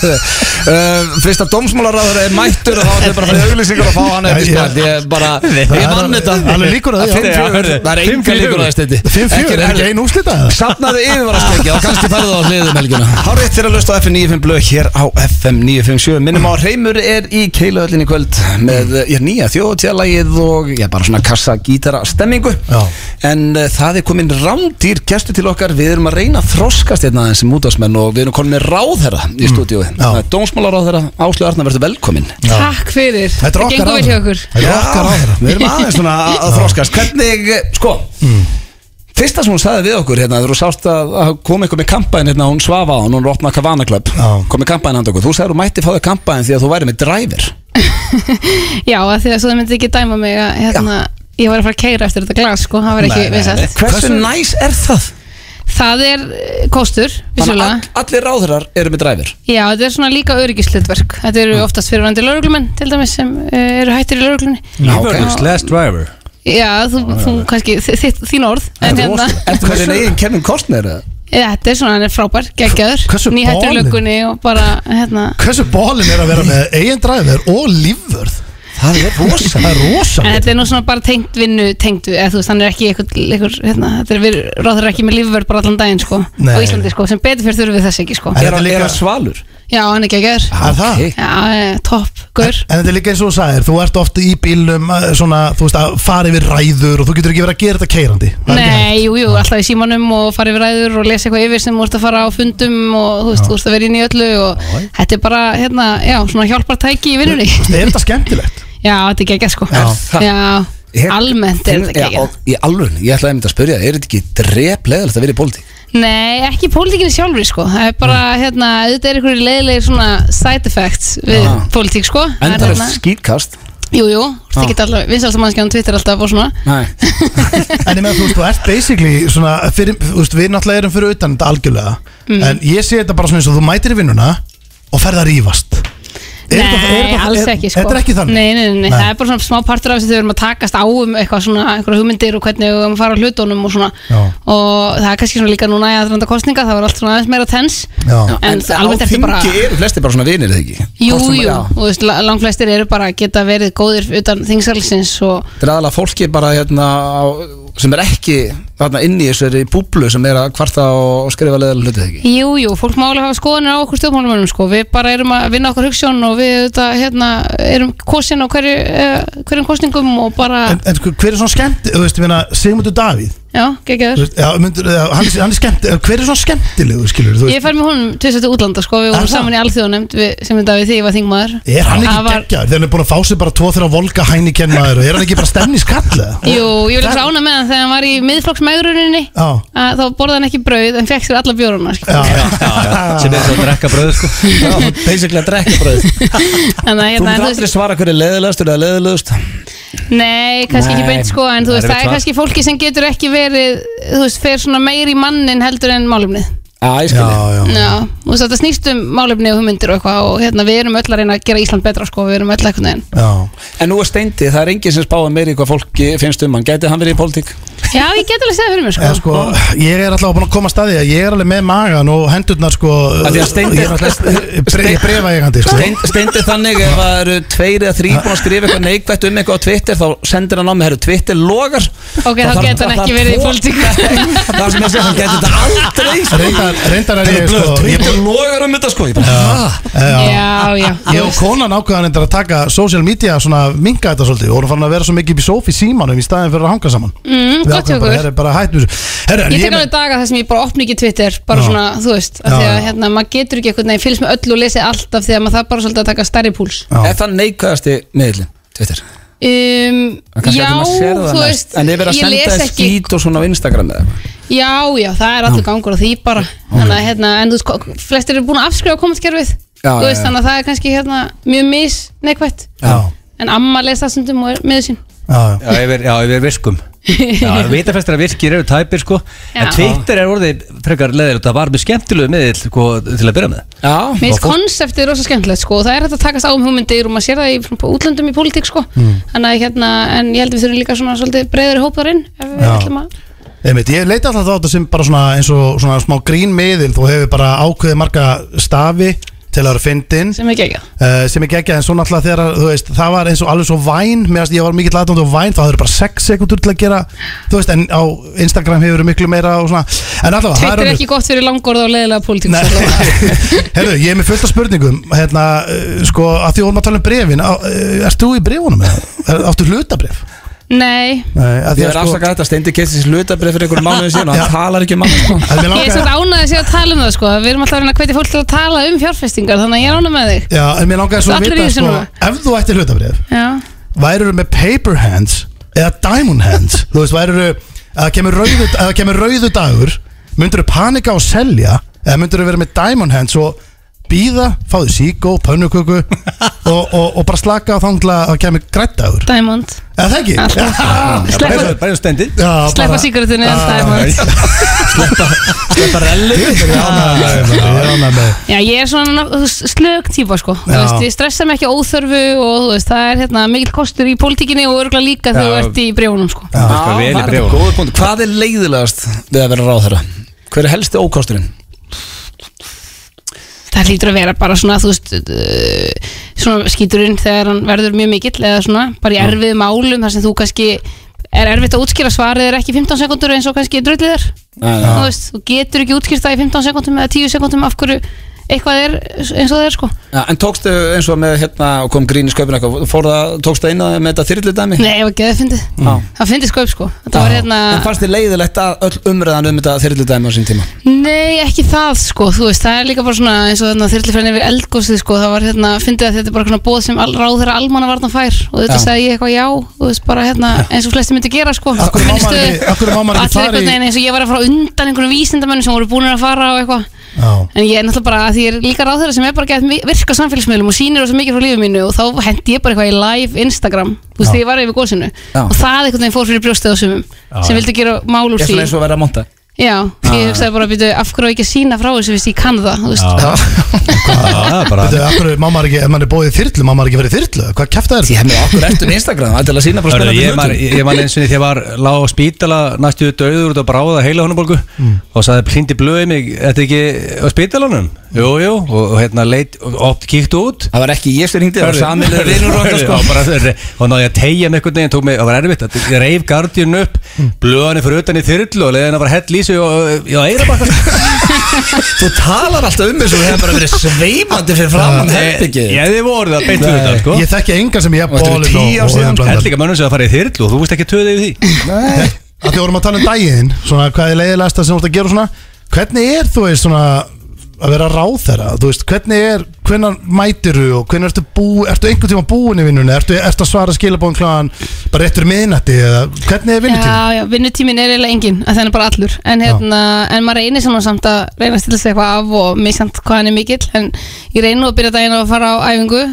uh, fyrst að dómsmálaráður er mættur og þá ætlum við bara að fara í auglýsingar og fá hann upp í spart ég bara, ég vann þetta Alveg líkur að því, já. Fimm fjögur, Já, það er fimm enga fjögur. líkur að það steindi 5-4, er ekki ein úrslita eða? Safnaðu yfirvaraskeggi og kannski færðu það á hliðum helgina Hárétt fyrir að lusta á FM 95 blöð hér á FM 957 Minnum á að Reymur er í keiluhöllinni í kvöld með eh, ég, nýja þjóðtjálægið og ég, bara svona kassa gítara stemmingu Já. En uh, það er komin rándýr gestur til okkar Við erum að reyna að þroskast hérna aðeins sem útvarsmenn og við erum komin með ráðherra í stúdíói Það er Dómsmálaráðherra, Áslu Arna, verður velkomin Takk fyrir Þetta er okkar gengur vel hjá okkur Þetta er okkar ráðherra við erum aðeins svona að, að þroskast Hvernig, eh, sko Fyrsta sem hún sagði við okkur hérna, þegar þú sást að, að kom eitthvað með kampæn hérna, hún svafa á hann, hún opnaði Kavana Club Já. kom með kampæn handa okkur, þú sagði að þú mætti fá þig kampæn því að þú væri með driver Já, að því að svo það myndi ekki dæma mig að hérna, ég var að fara að keira eftir þetta glas sko, það var ekki vinsætt Hversu, næs er það? Það er eh, kostur, Þannig vissulega að all- allir ráðurar eru með driver Já, þetta er svona líka öryggislutverk Þetta eru Mm. oftast fyrirvændi lauruglumenn til dæmis sem uh, eru hættir í lauruglunni Lífverðus, last driver Já, þú, þú kannski, þi- þitt, þín orð En hérna, Ertu með þinn eigin Kevin Costner? eða? ja, þetta er svona, hann er frábær, geggjaður Hversu Nýhættur í ballin? laugunni og bara, hérna Hversu bólin er að vera með eigin dræður og lífvörð? Það er rosa Það er En rosalegt þetta er nú svona bara tengt vinnu, tengt, eða þú veist, hann er ekki eitthvað, eitthvað hérna, þetta er verið, ráður ekki með lífverð bara allan daginn, sko, Nei. á Íslandi, sko, sem betur fyrir þurfum við þess ekki, sko. En Er þetta hann- líka- er hann svalur? Já, hann er ekki að gera. Er það? Ok. Já, eh, topp, gaur. En þetta er líka eins og þú sagðir, þú ert ofta í bílum eh, svona, þú veist, að fara yfir ræður og þú getur ekki verið að gera þetta keirandi Nei, jú, jú, alltaf í símanum og fara yfir ræður og lesa eitthvað yfir sem þú ert að fara á fundum og þú veist, þú ert að vera inn í öllu og þetta er bara, hérna, já, svona hjálpar tæki í vinnunni. Er þetta skemmtilegt? já, þetta er geggjað, sko. Já. Já, almennt er þetta Já, geggjað. og- Í alveg, ég ætlaði einmitt að spyrja, er þetta ekki dreplegilegt að vera í pólitík? Nei, ekki pólitíkinni sjálfri sko Það er bara, hérna, auðvitað er einhverju leiðilegir svona side effects við Já. pólitík sko Það er Endar hérna- eftir skýtkast Jú, jú, það geta alltaf, vinsalasta mannskjáðan Twitter alltaf og svona Nei En ég með þú veist, þú ert basically svona, fyrir, þú veist, við náttúrulega erum fyrir utan þetta algjörlega Mm. En ég sé þetta bara svona eins og þú mætir í vinnuna og ferð að rífast Er Nei, þetta- er þetta- alls er- ekki sko Þetta er ekki þannig? Nei, nei, nei, nei, það er bara svona smá partur af þess að þau erum að takast á um eitthvað svona, einhverja hugmyndir og hvernig við erum að fara á hlutunum og svona Já. Og það er kannski svona líka núna í aðranda kostninga, það var allt svona aðeins meira tens Já. En almennt ertu bara- Á þingi eru flesti bara svona vinir eða ekki Jú, Hvort sem- jú, já. og þú veist, la- langflestir eru bara að geta verið góðir utan þingsalsins og Þetta er aðalega fólki bara hérna á- sem er ekki þarna inn í þessari búblu sem er að kvarta og skrifa leðalega hluti eða ekki Jú, jú, fólk má alveg hafa skoðanir á okkur stjórnmálumönnum sko. við bara erum að vinna okkar hugssjón og við þetta, hérna, erum kosin á hverju, uh, hverjum kosningum og bara, En, en sko, hver er svona skemmt, þú veist, ég meina, Sigmundur Davíð já, þú geggjaður veist, já, myndur, já, hann, er- hann er skemmt, hver er svona skemmtilegu, skilur þú Ég veist fær með honum tvisar til útlanda sko, við Er vorum það? saman í alþjóðanemnd sem þetta við því ég var þingmaður Er hann ekki Það var- geggjaður? Þegar hann er búin að fá sér bara tvo þegar volga hænikennaður og er hann ekki bara stemniskall? Jú, ég vil ekki rána með hann þegar hann var í miðflokksmægruninni Já. að þá borði hann ekki brauð en fekk sér alla bjóruna sko. Já, já, Sem er svo að drekka bröðu sko Basically að drekka bröð Þannig að, hérna, Þú en myndir þú veist- aldrei svara hverju leðilegast eða leðilegust Nei, kannski Nei, ekki beint sko en þú það er veist, erfitt það er svar. kannski fólki sem getur ekki verið þú veist, fer svona meir í mannin heldur en málumnið Já, ég já, skilji já. Já, þú veist þetta snýst um málefni og hugmyndir og eitthvað og hérna við erum öll að reyna að gera Ísland betra sko, við erum öll eitthvað neginn já. En nú er steindi, það er enginn sem spáði meiri hvað fólki finnst um hann Gæti hann verið í pólitík? Já, ég get alveg segja fyrir mér sko, Eða, sko, ég er alltaf búin að koma að staði að ég er alveg með magan og hendurnar sko Af því að Steindi- Ég er alltaf brefa eigandi sko. Steind, steindi þannig ef það eru tveir eða þrý búin að skrifa eitthvað neikvætt um eitthvað á Twitter þá sendir hann á mig, herru, Twitter logar Ok, þá þarf- geta hann það ekki þarf verið í tvo- pólitík. Það sem ég segi, hann geti þetta aldrei sko. Reyndar, reyndar er ég sko ég, Twitter logar um þetta sko Ég bara, "Ha?" Já, já, ég og konan ákveðan reyndar að taka social media svona minga þetta svolítið og vorum farin að vera svo mikið upp í sofi símanum í staðin fyrir að hanga saman Mm, Við gott hjá ákveðum bara, ykkur. herri, bara hættu þessu Herri, en Ég ég tek menn- alveg daga þar sem ég bara opni ekki Twitter bara Já. svona, þú veist, af Já, því að já. hérna, maður getur ekki eitthvað neginn fylgst með öllu og lesið allt af því að maður þarf bara svolítið að taka stærri púls Já. Er það neikvæðasti miðlinn, Twitter? um, En kannski Já, ætlum að sér það þú næst. veist, En er verið að ég senda les þess ekki skít og svona á Instagram eða eitthvað? Já, já, það er allur gangur á því bara Þannig að, hérna, en þú veist, ko- flestir eru búin að afskrifa kommentkerfið Já, þú já, veist, já. þannig að það er kannski hérna mjög mis neikvætt já, en amma les það stundum og er með sín já, já. Já, yfir, já, yfir virkum Já, vitafestir að virkir eru tæpir sko En Já. Twitter er orðið frekar leðir Það var mjög skemmtilegu miðill sko, til að byrja með Já, Mér finnst konseptið rosa skemmtilegt sko og það er hægt að takast á um hugmyndir og maður sér það í svona, útlöndum í pólitík sko Mm. þannig að hérna, en ég held að við þurfum líka svona svolítið breyðari hóparinn ef við Já. ætlum að Einmitt, ég leita alltaf á þetta sem bara svona eins og svona smá grínmiðil þú hefur bara ákveðið marga stafi til að vera fyndin sem ekki ekki Uh, sem er geggjað en svo náttúrulega þegar þú veist, það var eins og alveg svo væn meðan ég var mikill aðdónd og væn þá það eru bara 6 sekundur til að gera þú veist en á Instagram hefur við miklu meira og svona en allavega það Twitter er önnur- ekki gott fyrir langorða og leiðilega pólitík sko, Nei. Herðu, ég er með fullt af spurningum hérna, uh, sko, að því vorum að tala um brefin á, uh, Erst þú í brefunum? eða? Er- Áttu hlutabref? Nei, Nei, að sko- Ég er sko- afsakað þetta, Steindi keisti sér hlutabrið fyrir einhverjum mánuðið síðan og hann talar ekki um annars sko. að mér ég er langaði- svolítið ánæðið sér að tala um það sko Við erum alltaf að reyna að hvetja fólk til að tala um fjárfestingar Þannig að ég er ánæðið með þig Já, en mér langaði svo að Allir í vita þessu sko, núna. ef þú ættir hlutabref Já, værirðu með paper hands eða diamond hands þú veist, værirðu að kemur rauðu, að kemur rauðu dagur myndirðu panika og selja eða myndirðu vera með diamond hands og býða, fáðu síkó, pönnuköku og, og, og bara slaka á þangla að kemur grætt dagur Diamond eða það ekki? Allt. Já, Bara eins Sleppa, og- Bara eins og stendir já, sleppa bara- Ah, sigurðinu en Diamond Sleppa rellu Ég er ánægður með það, ég er ánægður með það. Já, ég er svona þú veist, slök típa sko Þú Já. veist, ég stressa mig ekki að óþörfu og þú veist, það er hérna mikil kostur í pólitíkinni og örgulega líka þegar þú Já. ert í brjónum sko Já, Það er vel í það er bréfunum. góður punkt. Hvað er leiðilegast við að vera ráðherra? Hver er helsti ókosturinn? Það hlýtur að vera bara svona, þú veist uh, svona skíturinn þegar hann verður mjög mikill eða svona, bara í erfið málum þar sem þú kannski er erfitt að útskýra svarið er ekki 15 sekundur eins og kannski drullið er þú veist, þú getur ekki útskýrt það í 15 sekundum eða 10 sekundum af hverju eitthvað er eins og það er sko Já, en tókstu eins og með hérna og kom grín í sköpun eitthvað, fór það, tókstu eina með þetta þyrli dæmi? Nei, ég var geðið fyndið, Já. það fyndið sköp sko þetta var hérna, En fannst þið leiðilegt að öll umræðan um þetta þyrli dæmi á sín tíma? nei ekki það sko þú veist, það er líka bara svona eins og þarna þyrlifræðin yfir eldgósið sko, það var hérna fyndið að þetta er bara svona bóð sem al, ráð þeirra almanna fær og þetta Já. sagði ég eitthvað já, þú veist bara hérna eins og flesti myndi gera sko Af hverju má Minni maður stöðu. ekki- af hverju má maður ekki Allir fara í- einhvern veginn eins og ég var að fara undan einhverjum vísindamönnum sem voru búinir að fara og eitthvað Já. En ég er náttúrulega bara að því ég er líka ráð þeirra sem er bara gett mi- virka á samfélagsmiðlum og sýnir rosa mikið frá lífið mínu og þá hendi ég bara eitthvað í live Instagram, þú veist, þegar ég var yfir gósinu Já. og það einhvern veginn fór fyrir brjóstið á sumum sem vildi gera mál úr Ég er svona því eins og Ah. að vera að monta Já, því ég hugsaði bara að byrja af hverju á ekki að sína frá þessu viðst ég kann það, þú veist Já, Já, bara Þetta er af hverju má maður ekki, ef maður er bóðið í þyrlu, má maður ekki verið í þyrlu, hvað kæft það Því er? hef mér okkur eftir með Instagram, það er til að sína bara Hörðu, spennandi ég, man, hlutum ég man eins og því að ég var lág á spítala næstu döður út að bráða heila honubólgu og sagði plindi blöði mig Þetta er ekki á spítalanum? Jú, jú, og, og hérna leit, og oft kíkt út Það var ekki ég sem ringdi, það var samilega vinnur okkar sko Já, bara, og náði ég að tegja með einhvern veginn tók mig, það var erfitt, að- ég reif gardjun upp blöðan fyrir utan í þyrlu og leiðin að var hell í sig og já, sko. eira bara Þú talar alltaf um þessu og hefur bara verið sveimandi fyrir framann herbyggið eh, ég hefði voruð að beint fyrir þetta sko Ég þekki engan sem ég Og þetta er bólið tíu ár síðan, hell líka mönnum sem að fara í þyrlu og þú veist ekki töðið í því að því vorum að tala um daginn svona hvað er leiðilegast sem þú ert að gera og svona hvernig er þú veist svona að vera ráð þeirra, þú veist, hvernig er hvernig mætir þú og hvernig ertu bú ertu einhvern tíma búin í vinnunni, ertu, ertu að svara skilabóðum kláðan, bara réttur miðnætti eða hvernig er vinnutíma? Já, já, vinnutímin er eiginlega engin að þannig bara allur en, hérna, en maður reynir svona samt að reyna að stilla sig eitthvað af og misjant hvað hann er mikill en ég reyni nú að byrja daginn á að fara á æfingu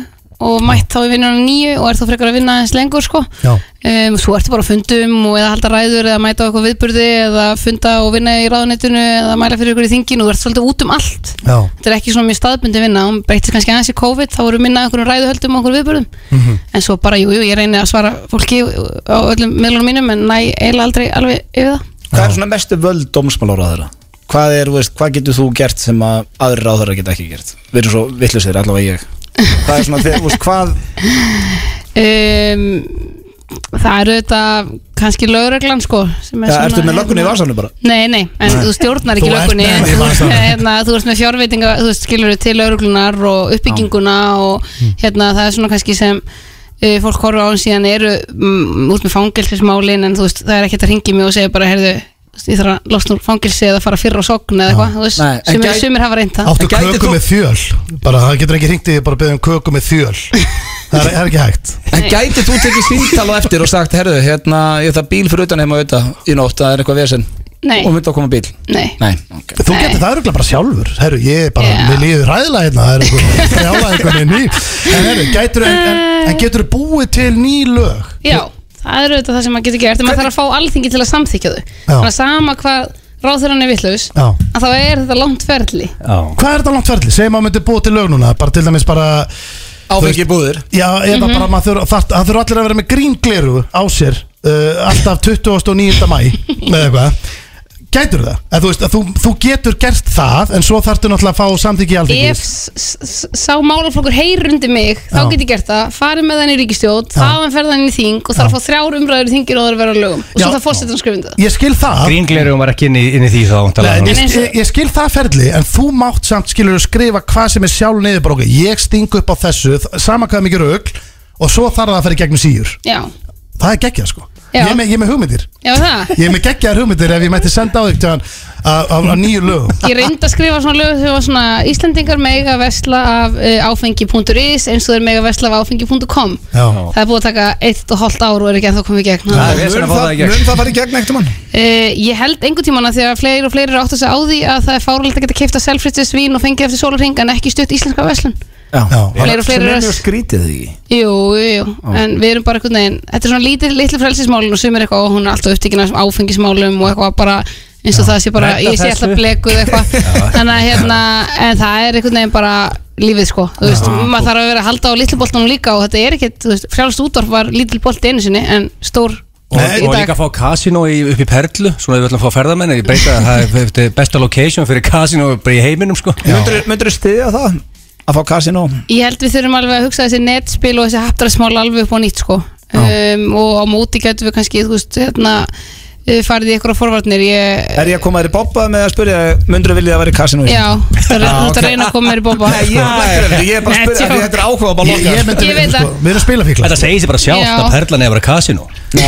og mætt þá í vinnunum nýju og er þá frekar að vinna aðeins lengur sko Já. um, svo ertu bara á fundum og eða halda ræður eða mæta á eitthvað viðburði eða funda og vinna í ráðunettinu eða mæla fyrir ykkur í þinginu og þú ert svolítið út um allt Já, þetta er ekki svona mjög staðbundi vinna hún breytist kannski aðeins í COVID, þá voru minna einhverjum ræðuhöldum og einhverjum viðbörðum Mhm. en svo bara, jú, jú, ég reyni að svara fólki á öllum miðlunum mínum en næ eiginlega aldrei alveg yfir það Hvað er svona mestu völd dómsmálaráðara? Hvað, er, þú veist, hvað getur þú gert sem að aðri ráðara geta ekki gert? Við erum svo vittlusir, allavega ég Hvað er svona, þið, þú veist, hvað um, það eru þetta kannski lögreglan, sko sem ja, Ertu svona- með hérna. löggunni í vasanum bara? Nei, nei, en þú stjórnar ekki Þú ert löggunni með henni í þú, ert- vasanum. hérna, þú ert með fjárveitinga þú veist, skilur til lögreglunar og uppbygginguna og Mm. hérna, það er svona kannski sem uh, fólk horfa á hann síðan eru mm, út með fangelsismálin en þú veist, það er ekkert að ringi mig og segja bara, heyrðu þú veist, ég þarf að losna úr fangelsi eða fara fyrr á sogn eða eitthvað, þú veist, Nei, en sumir, gæti- sumir hafa reynt það áttu En gæti köku þú- með þjöl bara, það getur ekki hringt í þig bara að beða um köku með þjöl það er, er ekki hægt En gætið þú tekið síntal á eftir og sagt Herðu, hérna, ég það bíl fyrir utan heima auðvitað í nótt, það er eitthvað vesen Nei. og myndi að koma bíl Nei, Nei, ok Þú Nei. getur það örgulega bara sjálfur Herru, ég er bara, Já. mér líður ræðilega hérna Það er okkur þjála einhvern veginn ný En herru, gætur, en, en, en getur búið til ný lög Eh. já, það er auðvitað það sem maður getur gert en maður þarf að fá alþingi til að samþykja þau þannig að sama hvað ráðherran er vittlaus Já að þá er þetta langt ferli Já, Hvað er þetta langt ferli? Segjum að maður myndi búið til lög núna Bara til dæmis bara Áfengi búður Já, eða Mhm. bara maður þurfa þar- Það þurfa allir að vera með gríngleru á sér uh, Alltaf 29. mæ Eða eitthvað Gætur það? Eða, þú, veist, að þú, þú getur gert það En svo þarftu náttúrulega að fá samþykki ef alþingis s- s- sá málaflokkur heyrundi mig þá Já. get ég gert það, farið með þann í ríkistjóð þaðan fer þann í þing og þarf að fá þrjár umræður í þingir og það er að vera á lögum og Já. svo það fórsetan skrifundu Ég skil það grínglerum var ekki inn í, inn í því þá talaði Nei, hann. ég, eins og- ég, ég skil það ferli en þú mátt samt skilur að skrifa hvað sem er sjálf neyðurbróki ég sting upp á þessu, þ- sama hvað mikið rögl og svo þarf það að fara í gegnum síur Já, það er geggjað sko Já. ég er, með, ég er með hugmyndir já það ég er með geggjaðar hugmyndir ef ég mætti senda á þig tján, á, á, á nýju lögum Ég reyndi að skrifa svona lög sem var svona Íslendingar mega vesla af uh, áfengi.is eins og þeir mega vesla af áfengi.com Já. Það er búið að taka eitt og hálft ár og er ekki ennþá komið í gegn Það uh, er vesen að fá það í gegn Mun það fara í gegn ekkert um hann? Ég held einhvern tíman að þegar fleiri og fleiri áttu sig á því að það er fáralegt að geta keifta selfritis vín og fengið eftir sólarhing en ekki stutt íslenska veslun Já. Fleiri og Sem fleiri er röss. mjög skrítið því Jú, jú, jú, en við erum bara einhvern veginn Þetta er svona lítið, litlu frelsismálin og sem er eitthvað og hún er alltaf upptekin af áfengismálum og eitthvað bara eins og það sé bara, Redda ég sé þessu. alltaf blekuð eitthvað þannig að hérna, en það er einhvern veginn bara lífið sko, þú veist, maður þarf að vera að halda á litlu boltanum líka og þetta er ekkert, þú veist, frjálst útvarp var lítil bolti einu sinni en stór Og, Nei, í og dag. líka að fá kasino í, upp í Perlu Svona við ætlum að fá ferðamenn Ég breyta að það er- þetta er besta location fyrir kasino Bara í heiminum sko Möndur þú stiðja það? Að fá kasino? Ég held við þurfum alveg að hugsa þessi netspil og þessi haptarasmál alveg upp á nýtt sko um, og á móti getum við kannski, þú veist, hérna eh, farið í eitthvað forvarnir, ég Er ég að koma þér í bobba með að spyrja Möndur þú vilja að vera í kasino? í? Já, þú ert Já, að- þú ert að ok. reyna að koma mér í bóba Nei, ég er bara að spyrja, ég er bara að spyrja af því Þetta er áhuga bara ég, ég lokað myndi Ég veit sko, það. við erum spilafíkla Þetta segir sér bara Já. sjálft að Perlan er að vera kasino Já.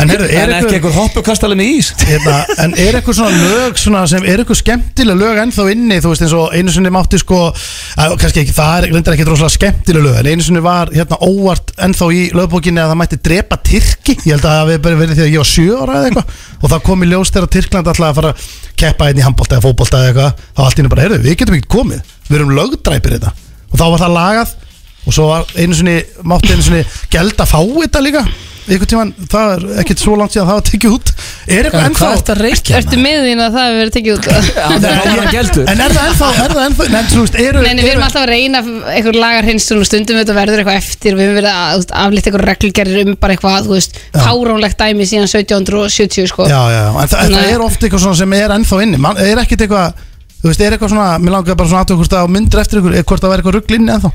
En heyrðu, er En ykkur- ekki einhver hoppukastalinn í ís? Hérna, en er eitthvað svona lög svona sem er eitthvað skemmtileg lög ennþá inni þú veist eins og einu sinni mátti sko að, kannski ekki, það er reyndar ekki rosalega skemmtileg lög en einu sinni var hérna óvart ennþá í lögbókinni að það mætti drepa Tyrki ég held að það hafi bara verið því að ég var sjö ára eða eitthvað og það kom í ljós þegar Tyrkland alltaf að fara að keppa einn í handbólta eða fótbolta eða eitthvað þá allt inni bara, heyrðu, við getum ekki komið við erum lögdræpir þetta og þá var það lagað og svo var einu sinni, mátti einu sinni gælda fá þetta líka einhvern tíman, það er ekkert svo langt síðan það var tekið út er eitthvað ennþá að reykja? Ertu með þín að það hefur verið tekið út Það er áhuga gældur En er það ennþá, er það ennþá Nei, þú veist, eru Nei, en við erum alltaf að reyna eitthvað lagar hinsun og stundum þetta verður eitthvað eftir við höfum verið að þú veist, aflita eitthvað reglgerðir um bara eitthvað, þú veist, fáránlegt dæmi síðan 1770 sko Já, já, já, en það, en það Nei. er oft eitthvað svona sem er ennþá inni Man, Er ekkert eitthvað, þú veist, er eitthvað svona Mér langar bara svona aðtöku hvort það á myndir eftir ykkur eh, Hvort það væri eitthvað rugl inni ennþá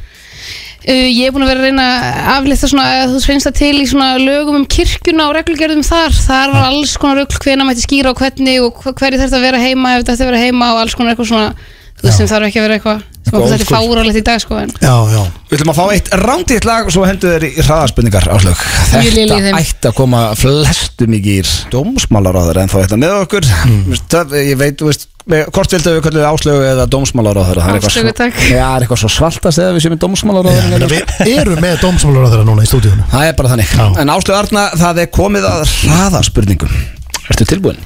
Uh, ég er búin að vera að reyna að aflita svona, eða þú finnst það til í svona lögum um kirkjuna og reglugjörðum þar þar var alls konar rögl hvena mætti skýra og hvernig og hver- hverju þarf að vera heima ef þetta ætti að vera heima og alls konar eitthvað svona þú veist sem þarf ekki að vera eitthvað sem okkur þetta er fáralegt í dag sko en Já, já Við ætlum að fá eitt ránditt lag og svo hendur þeir í hraðarspurningar áslög. Mjög léleg í Þetta þeim. ætti að koma flestum í gýr dómsmálaráður en þá hérna þetta með okkur mm. það, Ég veit, þú veist, með- hvort vildu við kallum áslög eða dómsmálaráður Áslaugu, takk. Já, það er eitthvað svo svaltast eða við séum í En dómsmálaráður Við erum með dómsmálur á þeirra núna í stúdíunum Það er bara þannig Já. En áslög Arna, það er komið að hraðarspurningum Ertu tilbúin?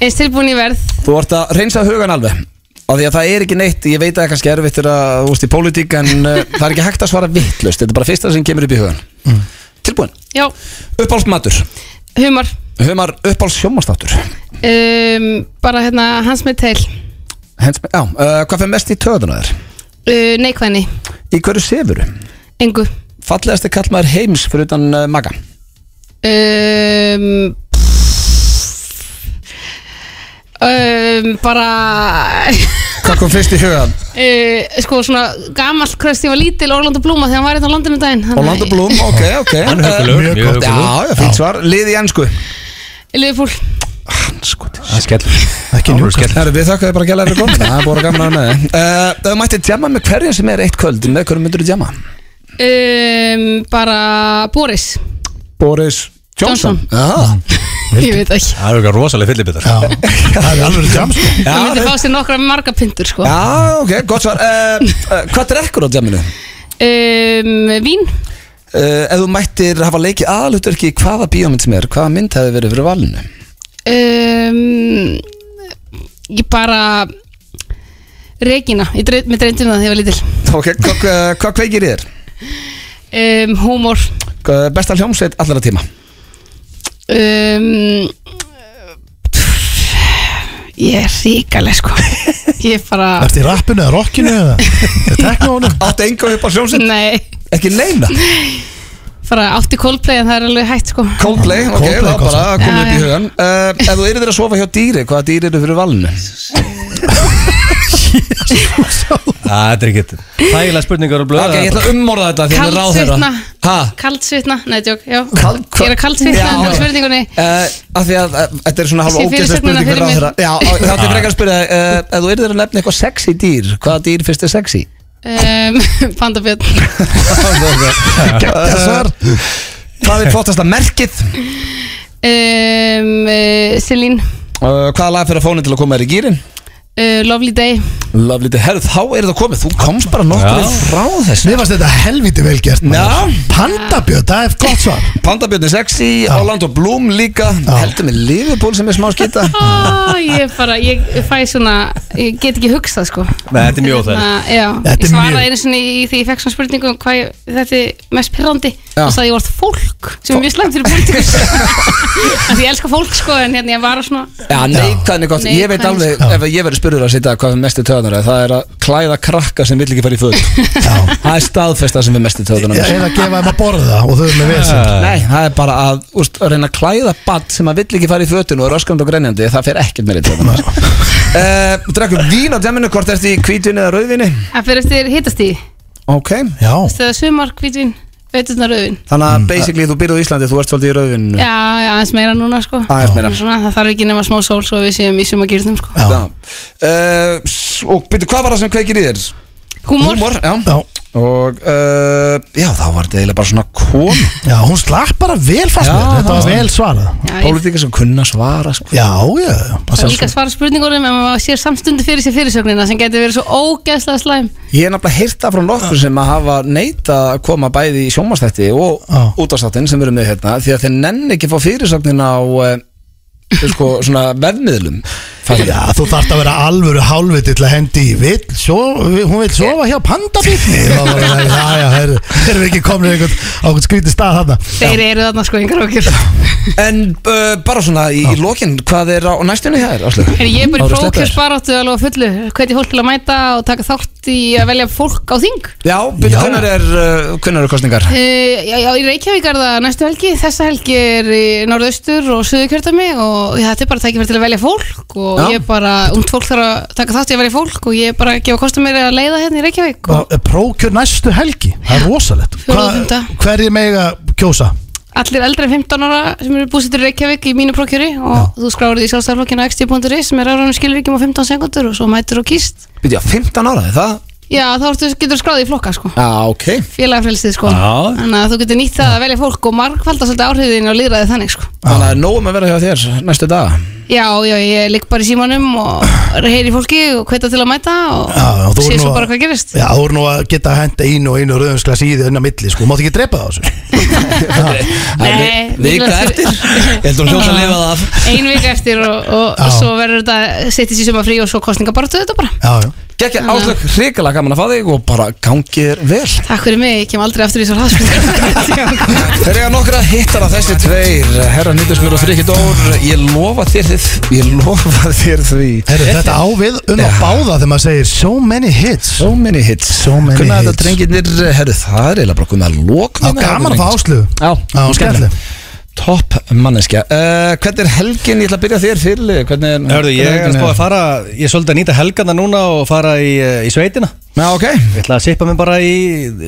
eins tilbúin í verð Þú ert að reynsa hugan alveg Af því að það er ekki neitt, ég veit að það er kannski erfitt er að, þú veist, í pólitík, en uh, það er ekki hægt að svara vittlust, þetta er bara fyrsta sem kemur upp í hugan Tilbúin, já, uppáhaldsmatur humor Humar uppáls sjómanstáttur um, bara hérna hans með teil Hens, já, uh, Hvað fyrir mest í töðuna þér? uh, neikvæðni, Í hverju sefuru? engu Fallegasti kallmaður heims fyrir utan uh, maga um, um, bara Hvað kom fyrst í hugan? Uh, sko svona gamall kröst ég var lítil Orlando Blúma þegar hann var hérna á landinu daginn hann Orlando Bloom, ok, ok Hann er Eh, huggulegur, mjög gott. huggulegur. Já, já, fínt svar Lið í ennsku Liverpool Það er skell Ekki Það voru njúkast Herru, við þakkaði bara gæla fyrir komin Það er búin að gamla með þig Eh, Ef þú mætti djama með hverjum sem er eitt kvöld Með hverjum myndur þú djama? um, bara Boris Boris Johnson, Johnson. Já, ég veit ekki Það eru eitthvað rosalega fyllibitar Já, það er alveg jam sko hann já, myndi fá sér nokkra marga pindur sko já ok, gott svar uh, Eh, uh, Hvað drekkur á djaminu? um, Vín Eh, Uh, ef þú mættir hafa leikið aðalutverki í hvaða bíómynd sem er, hvaða mynd hefði verið fyrir valinu? um, Ég bara Regina, ég dreif, mér dreymdi um það þegar ég var lítil Ok, hvað hva kveikir í þér? um, Húmor Hvað- Besta hljómsveit allra tíma um, pff, Ég er ríkaleg sko Ég er bara Ertu í rappinu eða rockinu eða eða teknónu? Áttu enga upp á hljómsveit? Nei, Ekki neina bara átti Coldplay en það er alveg hægt sko Coldplay, ok, Coldplay, það bara kostar. komið Já, upp í já. hugan uh, Ef þú yfir þér að sofa hjá dýri, hvaða dýri eru fyrir valinu? Það er ekkert Þægilega spurningar og blöð Ok, ég ætla að umorða þetta því að það er ráðherra Kaldsvitna Ha? Kaldsvitna, nei, tjók, já Kald- Ég er að kaldsvitna Já, undir já. spurningunni Uh, af því að uh, þetta er svona halva Sé ógeðslega fyrirsögnina spurning fyrir fyrir mér. ráðherra Já, á- þá ætti frekar að spyrja þig, uh, Ef þú yfir þér að nefna eitthvað sexy dýr, hvaða dýr finnst þér sexy? um, Pandabjörn Gekkja svar. Eh, Hvað er flottasta merkið? um, uh, Celine Uh, hvaða lag fyrir að fónin til að koma þér í gýrin? uh, Lovely Day Lovely, day. herru, þá er það komið Þú komst bara nokkuð Já. frá þessu Mér fannst þetta helviti vel gert Já. maður. Pandabjörn, það er gott svar Pandabjörn er sexy, Áland og Blúm líka Heldur með Liverpool sem er smá skita oh, Ég bara, ég fæ svona Ég get ekki hugsað sko Nei, þetta er mjög óþægilegt. Hérna, já, Þetta Ég er svaraði mjög- einu sinni í því ég fekk svona spurningu um hvað ég, þetta er mest pirrandi Já. og sagði ég orð fólk sem er mjög slæmt fyrir politikus Því ég elska fólk sko en hérna ég var að svona Já, neikvæðin er gott Ég veit Neikvæðni, alveg, sko. ef ég verið spurður að sita hvað er mestu töðunar Það er að klæða krakka sem vill ekki fara í föt Já. Það er staðfesta sem er mestu töðunar Ég er að gefa þeim að borða og þau eru með vesend Nei, það er bara að, úst, að reyna að klæða badd sem að vill ekki fara í fötun og er öskrand og grenjandi Það fer ekkert meiri töðunar uh, Drekkum vín á dæminu, hvort ertu í hvítvinni eða rauðvinni Það fyrir eftir hittast því Ok, Já, Þegar sumar, hvítvin, veiturnar auðvin þannig að basically þú byrjuð í Íslandi, þú ert svolítið í rauðvinnu Já, já, aðeins meira núna sko Aðeins meira. svona, Það þarf ekki nema smá sól svo við séum í sumargýrnum sko já, Já. Uh, s- og byrju, hvað var það sem kveikir í þér? Húmor, já. já Og, uh, já, þá var þetta eiginlega bara svona kom Já, hún slapp bara vel fast Já, með Þetta það var var- vel svarað Já, ég- Pólitíka sem kunna svara, sko Já, já, já Það er líka að svara spurningunum en maður sér samstundu fyrir sér fyrirsögnina sem getur verið svo ógeðslega slæm Ég er nefnilega heyrta frá nokkur sem að hafa neita að koma bæði í sjómanstætti og Já. útastáttin sem við erum með hérna því að þeir nenni ekki að fá fyrirsögnin á uh, sko, svona vefmiðlum Fattar Já, þú þarft að vera alvöru hálfviti til að hendi í vill, svo, hún vill sofa hjá pandabitni Já, já, þeir þeir eru ekki komin einhvern, á einhvern skrítið stað þarna Þeir eru þarna sko yngar okkur þú? En uh, bara svona í, í lokin, hvað er á á næstunni hér? En ég er Árið bara í sleppir. prókjörsbaráttu alveg á fullu Hvernig fólk til að mæta og taka þátt í að velja fólk á þing Já, byrju, Já. hvernig er, uh, hvernig eru kostningar? Uh, já, já, í Reykjavík er það næstu helgi, þessa helgi er í norðaustur og suðukjörtami og já, þetta er bara tækifæri til að velja fólk og Já. ég er bara, ungt fólk þarf að taka þátt í að velja fólk og ég er bara að gefa kostum mér að leiða hérna í Reykjavík og Og er prókjör næstu helgi, það er rosalegt Fjórða og fimmta. Hverjir mega kjósa? allir eldri en 15 ára sem eru búsettur í Reykjavík í mínu prókjöri og þú skráður því sjálfstæðarflokkinu á xd.is sem er aðránum skilríkjum á 15 sekundur og svo mætur og kýst Byrju, 15 ára, er það? Já, þá ertu, getur skráðið í flokka sko Já, ok félagafrelsið sko Já. þannig að þú getur nýtt það að velja fólk og margfalda svolítið áhrifin og líðræði þannig sko Þannig að nógum að vera hjá þér næstu dag Já, já, ég ligg bara í símanum og heyri fólki og hveta til að mæta og Já, já, þú sé voru nú svo að- bara hvað gerist Já, þú eru nú að geta að henda einu og einu rauðumsklas í því unna milli, sko, mátt ekki drepa það á þessu Nei, Vika líklega eftir fyrir- Ég held hún hljóta að lifa það af Ein vika eftir og, og Já. svo verður þetta settist í suma frí og svo kostningabartu þetta bara Já, já, Gekki áslökk, hrikalega gaman að fá þig og bara gangið þér vel Takk fyrir mig, ég kem aldrei aftur í svo hraðspil Þeir eiga nokkra hittar af þessi tveir Herra Nýttusmjör og Friki Dór Ég lofa þér þið Ég lofa þér því Heru, þetta á við um að Já. báða þegar maður segir so many hits So many hits So many Kunna þetta hits. drengirnir, herru það er eiginlega bara komið að lokna Á gaman að fá áslögu Já, Já, hún skemmtileg. Topp manneskja uh, Hvernig er helgin, ég ætla að byrja þér fyrir eh, Hvernig er Hörðu, ég er að hvernig spá helgin að fara Ég er svolítið að nýta helgana núna og fara í, eh, í sveitina Já, ok Ég ætla að sippa mig bara í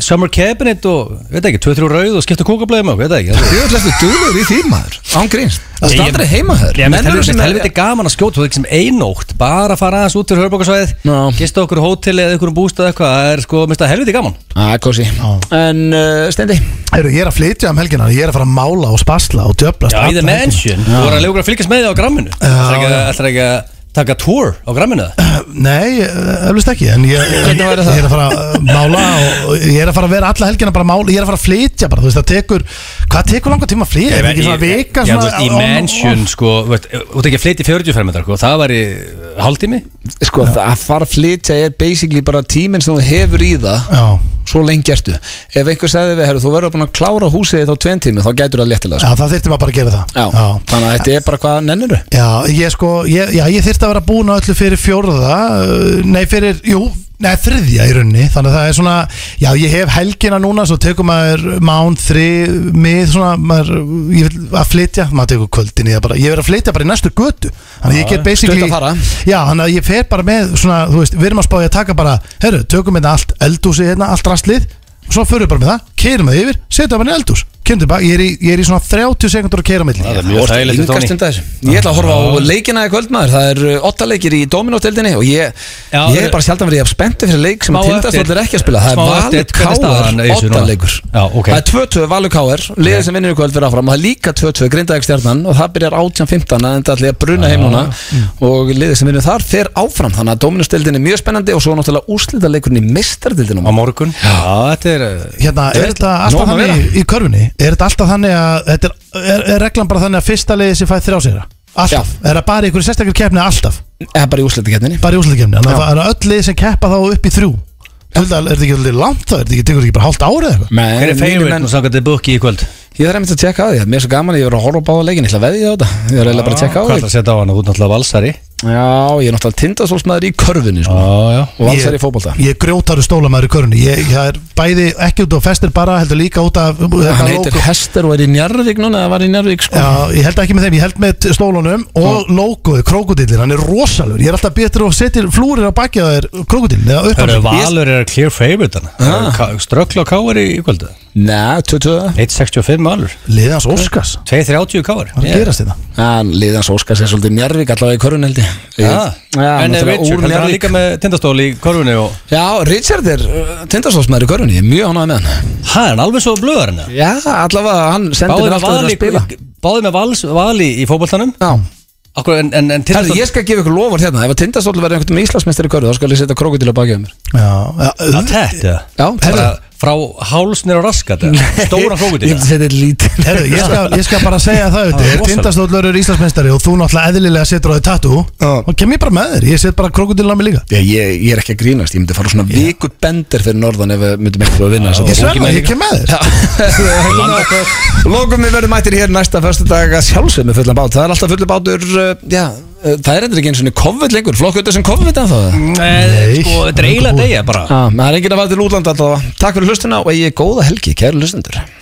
Summer Cabinet og, veit ekki, 2-3 rauð og skipta kúkablaðum og, veit ekki það- Þú ætlastu duður í því maður Ángríns Það Ég- standar heima þér Ég með Menn eru helviti, sem- helviti gaman að skjóta þú ekki sem einótt bara að fara aðeins út til hörbókarsvæðið Já. gista okkur hótel eða ykkur um bústað eitthvað það er sko, minnst það helviti gaman Á, kósi En uh, Steindi Heru, Ég er að flytja um helgina, ég er að fara að mála og spasla og djöblast Já, í alla The helgina. Mansion, þú voru að leikur að fylgjast með þig á gramminu Það er ekki, já. ætlar ekki að Taka tour á gramminu það Nei, öllust ekki En ég, ég er að fara að mála og- og Ég er að fara að vera alla helgina bara að mála Ég er að fara að flytja bara, þú veist, það tekur Hvað tekur langa tíma að flytja? Er það ekki svona vika Já, þú svona veist, í á- á- mansion, sko Þú veist, þú tekið flytti 40 fermetrar, sko Það var í hálftími Sko, það að fara að flytja er basically bara tíminn sem þú hefur í það Já, Svo lengi ertu Ef einhver sagði við, herru, þú verður búin að klára húsið þitt á tveim tími Þá gætur það léttilega, sko já, það þyrfti maður bara að gera það Já, þannig að þetta er bara hvað nenniru Já, ég sko, ég, já, ég þyrfti að vera búin að öllu fyrir fjórða uh, Nei, fyrir, jú, nei, þriðja í rauninni Þannig að það er svona, já, ég hef helgina núna Svo tekur maður mán, þri, mið, svona maður, Ég vil að flytja, maður tekur kvöldin í það bara Ég verið að flytja bara í næstu götu Þannig að ég get basically stutt að fara. Já, þannig að ég fer bara með, svona, þú veist, við erum að spáði að taka bara Herru, tökum hérna allt eldúsi hérna, allt rastlið Svo förum við bara með það, keirum það yfir, setjum bara í eldús Kemum tilbaka, ég er í, ég er í svona 30 sekundur að keira milli Það er mjög þægilegt við Yngast Tony. um þessu Ég ætla að horfa á leikina í kvöldmaður Það er uh, otta leikir í Dominó-tildinni Og ég, Já, ég er bara sjaldan verið jafn spennti fyrir leik sem Smá að tildastóttir er ekki að spila Það smá er eftir, Valur hvernig er staðan í Káar, þessu otta núna? leikur Já, ok. Það er 2-2 Valur Káar, liðið sem vinnur í kvöld fyrir áfram Og það er líka 2-2 Grindavík stjarnan Og það byrjar 18-15 að enda allir að bruna heim núna Mm. Og liðið sem vinnur þar fer áfram Þannig að Dominó-tildin er mjög spennandi Og svo náttúrulega úslita leikurinn í mistardildin Á morgun Já, þetta er uh, hérna, Ég er veit, þetta nóg alltaf um að þannig í, í körfunni er þetta alltaf þannig að þetta er, er, er reglan bara þannig að fyrsta leiði sem fæði þrjá sér alltaf, er það bara í einhverju sérstakir keppni alltaf, Eða bara í úslita bara í úslutakefni þannig að það eru öll leiði sem keppa þá upp í þrjú Þú veist að er þetta ekki alveg langt þá, er þetta ekki, tekur þetta ekki bara hálft árið eða eitthvað? Hver er favorite og samkvæmt er bukki í kvöld? Ég þarf einmitt að tjekka á því, mér er svo gaman að ég verið að horfa á báða leikin, ég ætla að veðja á þetta Ég er eiginlega bara að tjekka á Hvað því ætlar að setja á hana? Þú ert náttúrulega valsari Já, ég er náttúrulega tindasólsmaður í körfunni sko. Já, já og valsar í Ég- fótbolta Ég grjótaru stólamæður í körfunni, ég, ég er bæði ekki út á festir bara, heldur líka út af Hann heitir Hester og er í Njarðvík núna eða var í Njarðvík sko Já, ég held ekki með þeim, ég held með stólunum og logoði, krokodillin, hann er rosalur Ég er alltaf betur og setjir flúrir á bakið á þér krokodillin eða upp á Hörru, sig. Valur er að clear favorite Ah. hana Ströggla á káar í kvöldu Næ, 22 1.65 Valur Liðið hans Óskars 2.30 káar Hvað er að gerast hérna? þetta? Hann liðans Óskars er svolítið Njarðvík allavega í körfunni held ég Já, en náttúrulega Richard, úr heldur hann Njarðvík. líka með tindastól í korfunni og Já, Richard er uh, tindasólsmaður í körfunni, ég er mjög ánægð með hann Hæ, hann er alveg svo blöðar hann Já, allavega hann sendir Báði með mér vali, alltaf að spila báði með vals, vali í fótboltanum Já, Akkur, en, en, en Herðu, tindastól ég skal gefa ykkur lofur hérna Ef að tindasól verður einhvern veginn Íslandsmeistar í körfu þá skal ég setja krokodil á bakið á mér Já, Það tett, eða? Já, Bara herðu frá hálsnir og raskat eða? Stóra Ég krókutil myndi setja lítið Herru, ég, skal, ég skal bara segja það Það er auðvitað rosalegt. Tindastóllur er Íslandsmeistari og þú náttúrulega eðlilega setur á þig tattoo Já. og kem ég bara með þér, ég set bara krokodillin á mig líka Já, ég, ég er ekki að grínast, ég myndi fara svona viku bender fyrir norðan ef við myndum eitthvað að vinna Ég sverða, ég kem með þér sverða Lókum við verðum mættir hér næsta föstudag að sjálfsög með fullan bát Það er alltaf fullan bátur, uh, já, uh, það er endur ekki eins og COVID lengur Flokk auðvitað sem COVID en það Nei, sko, Nei, dreila löngu búið. degja bara Það er enginn að fara til útlanda alltaf Takk fyrir hlustuna og eigi góða helgi, kæru hlustundur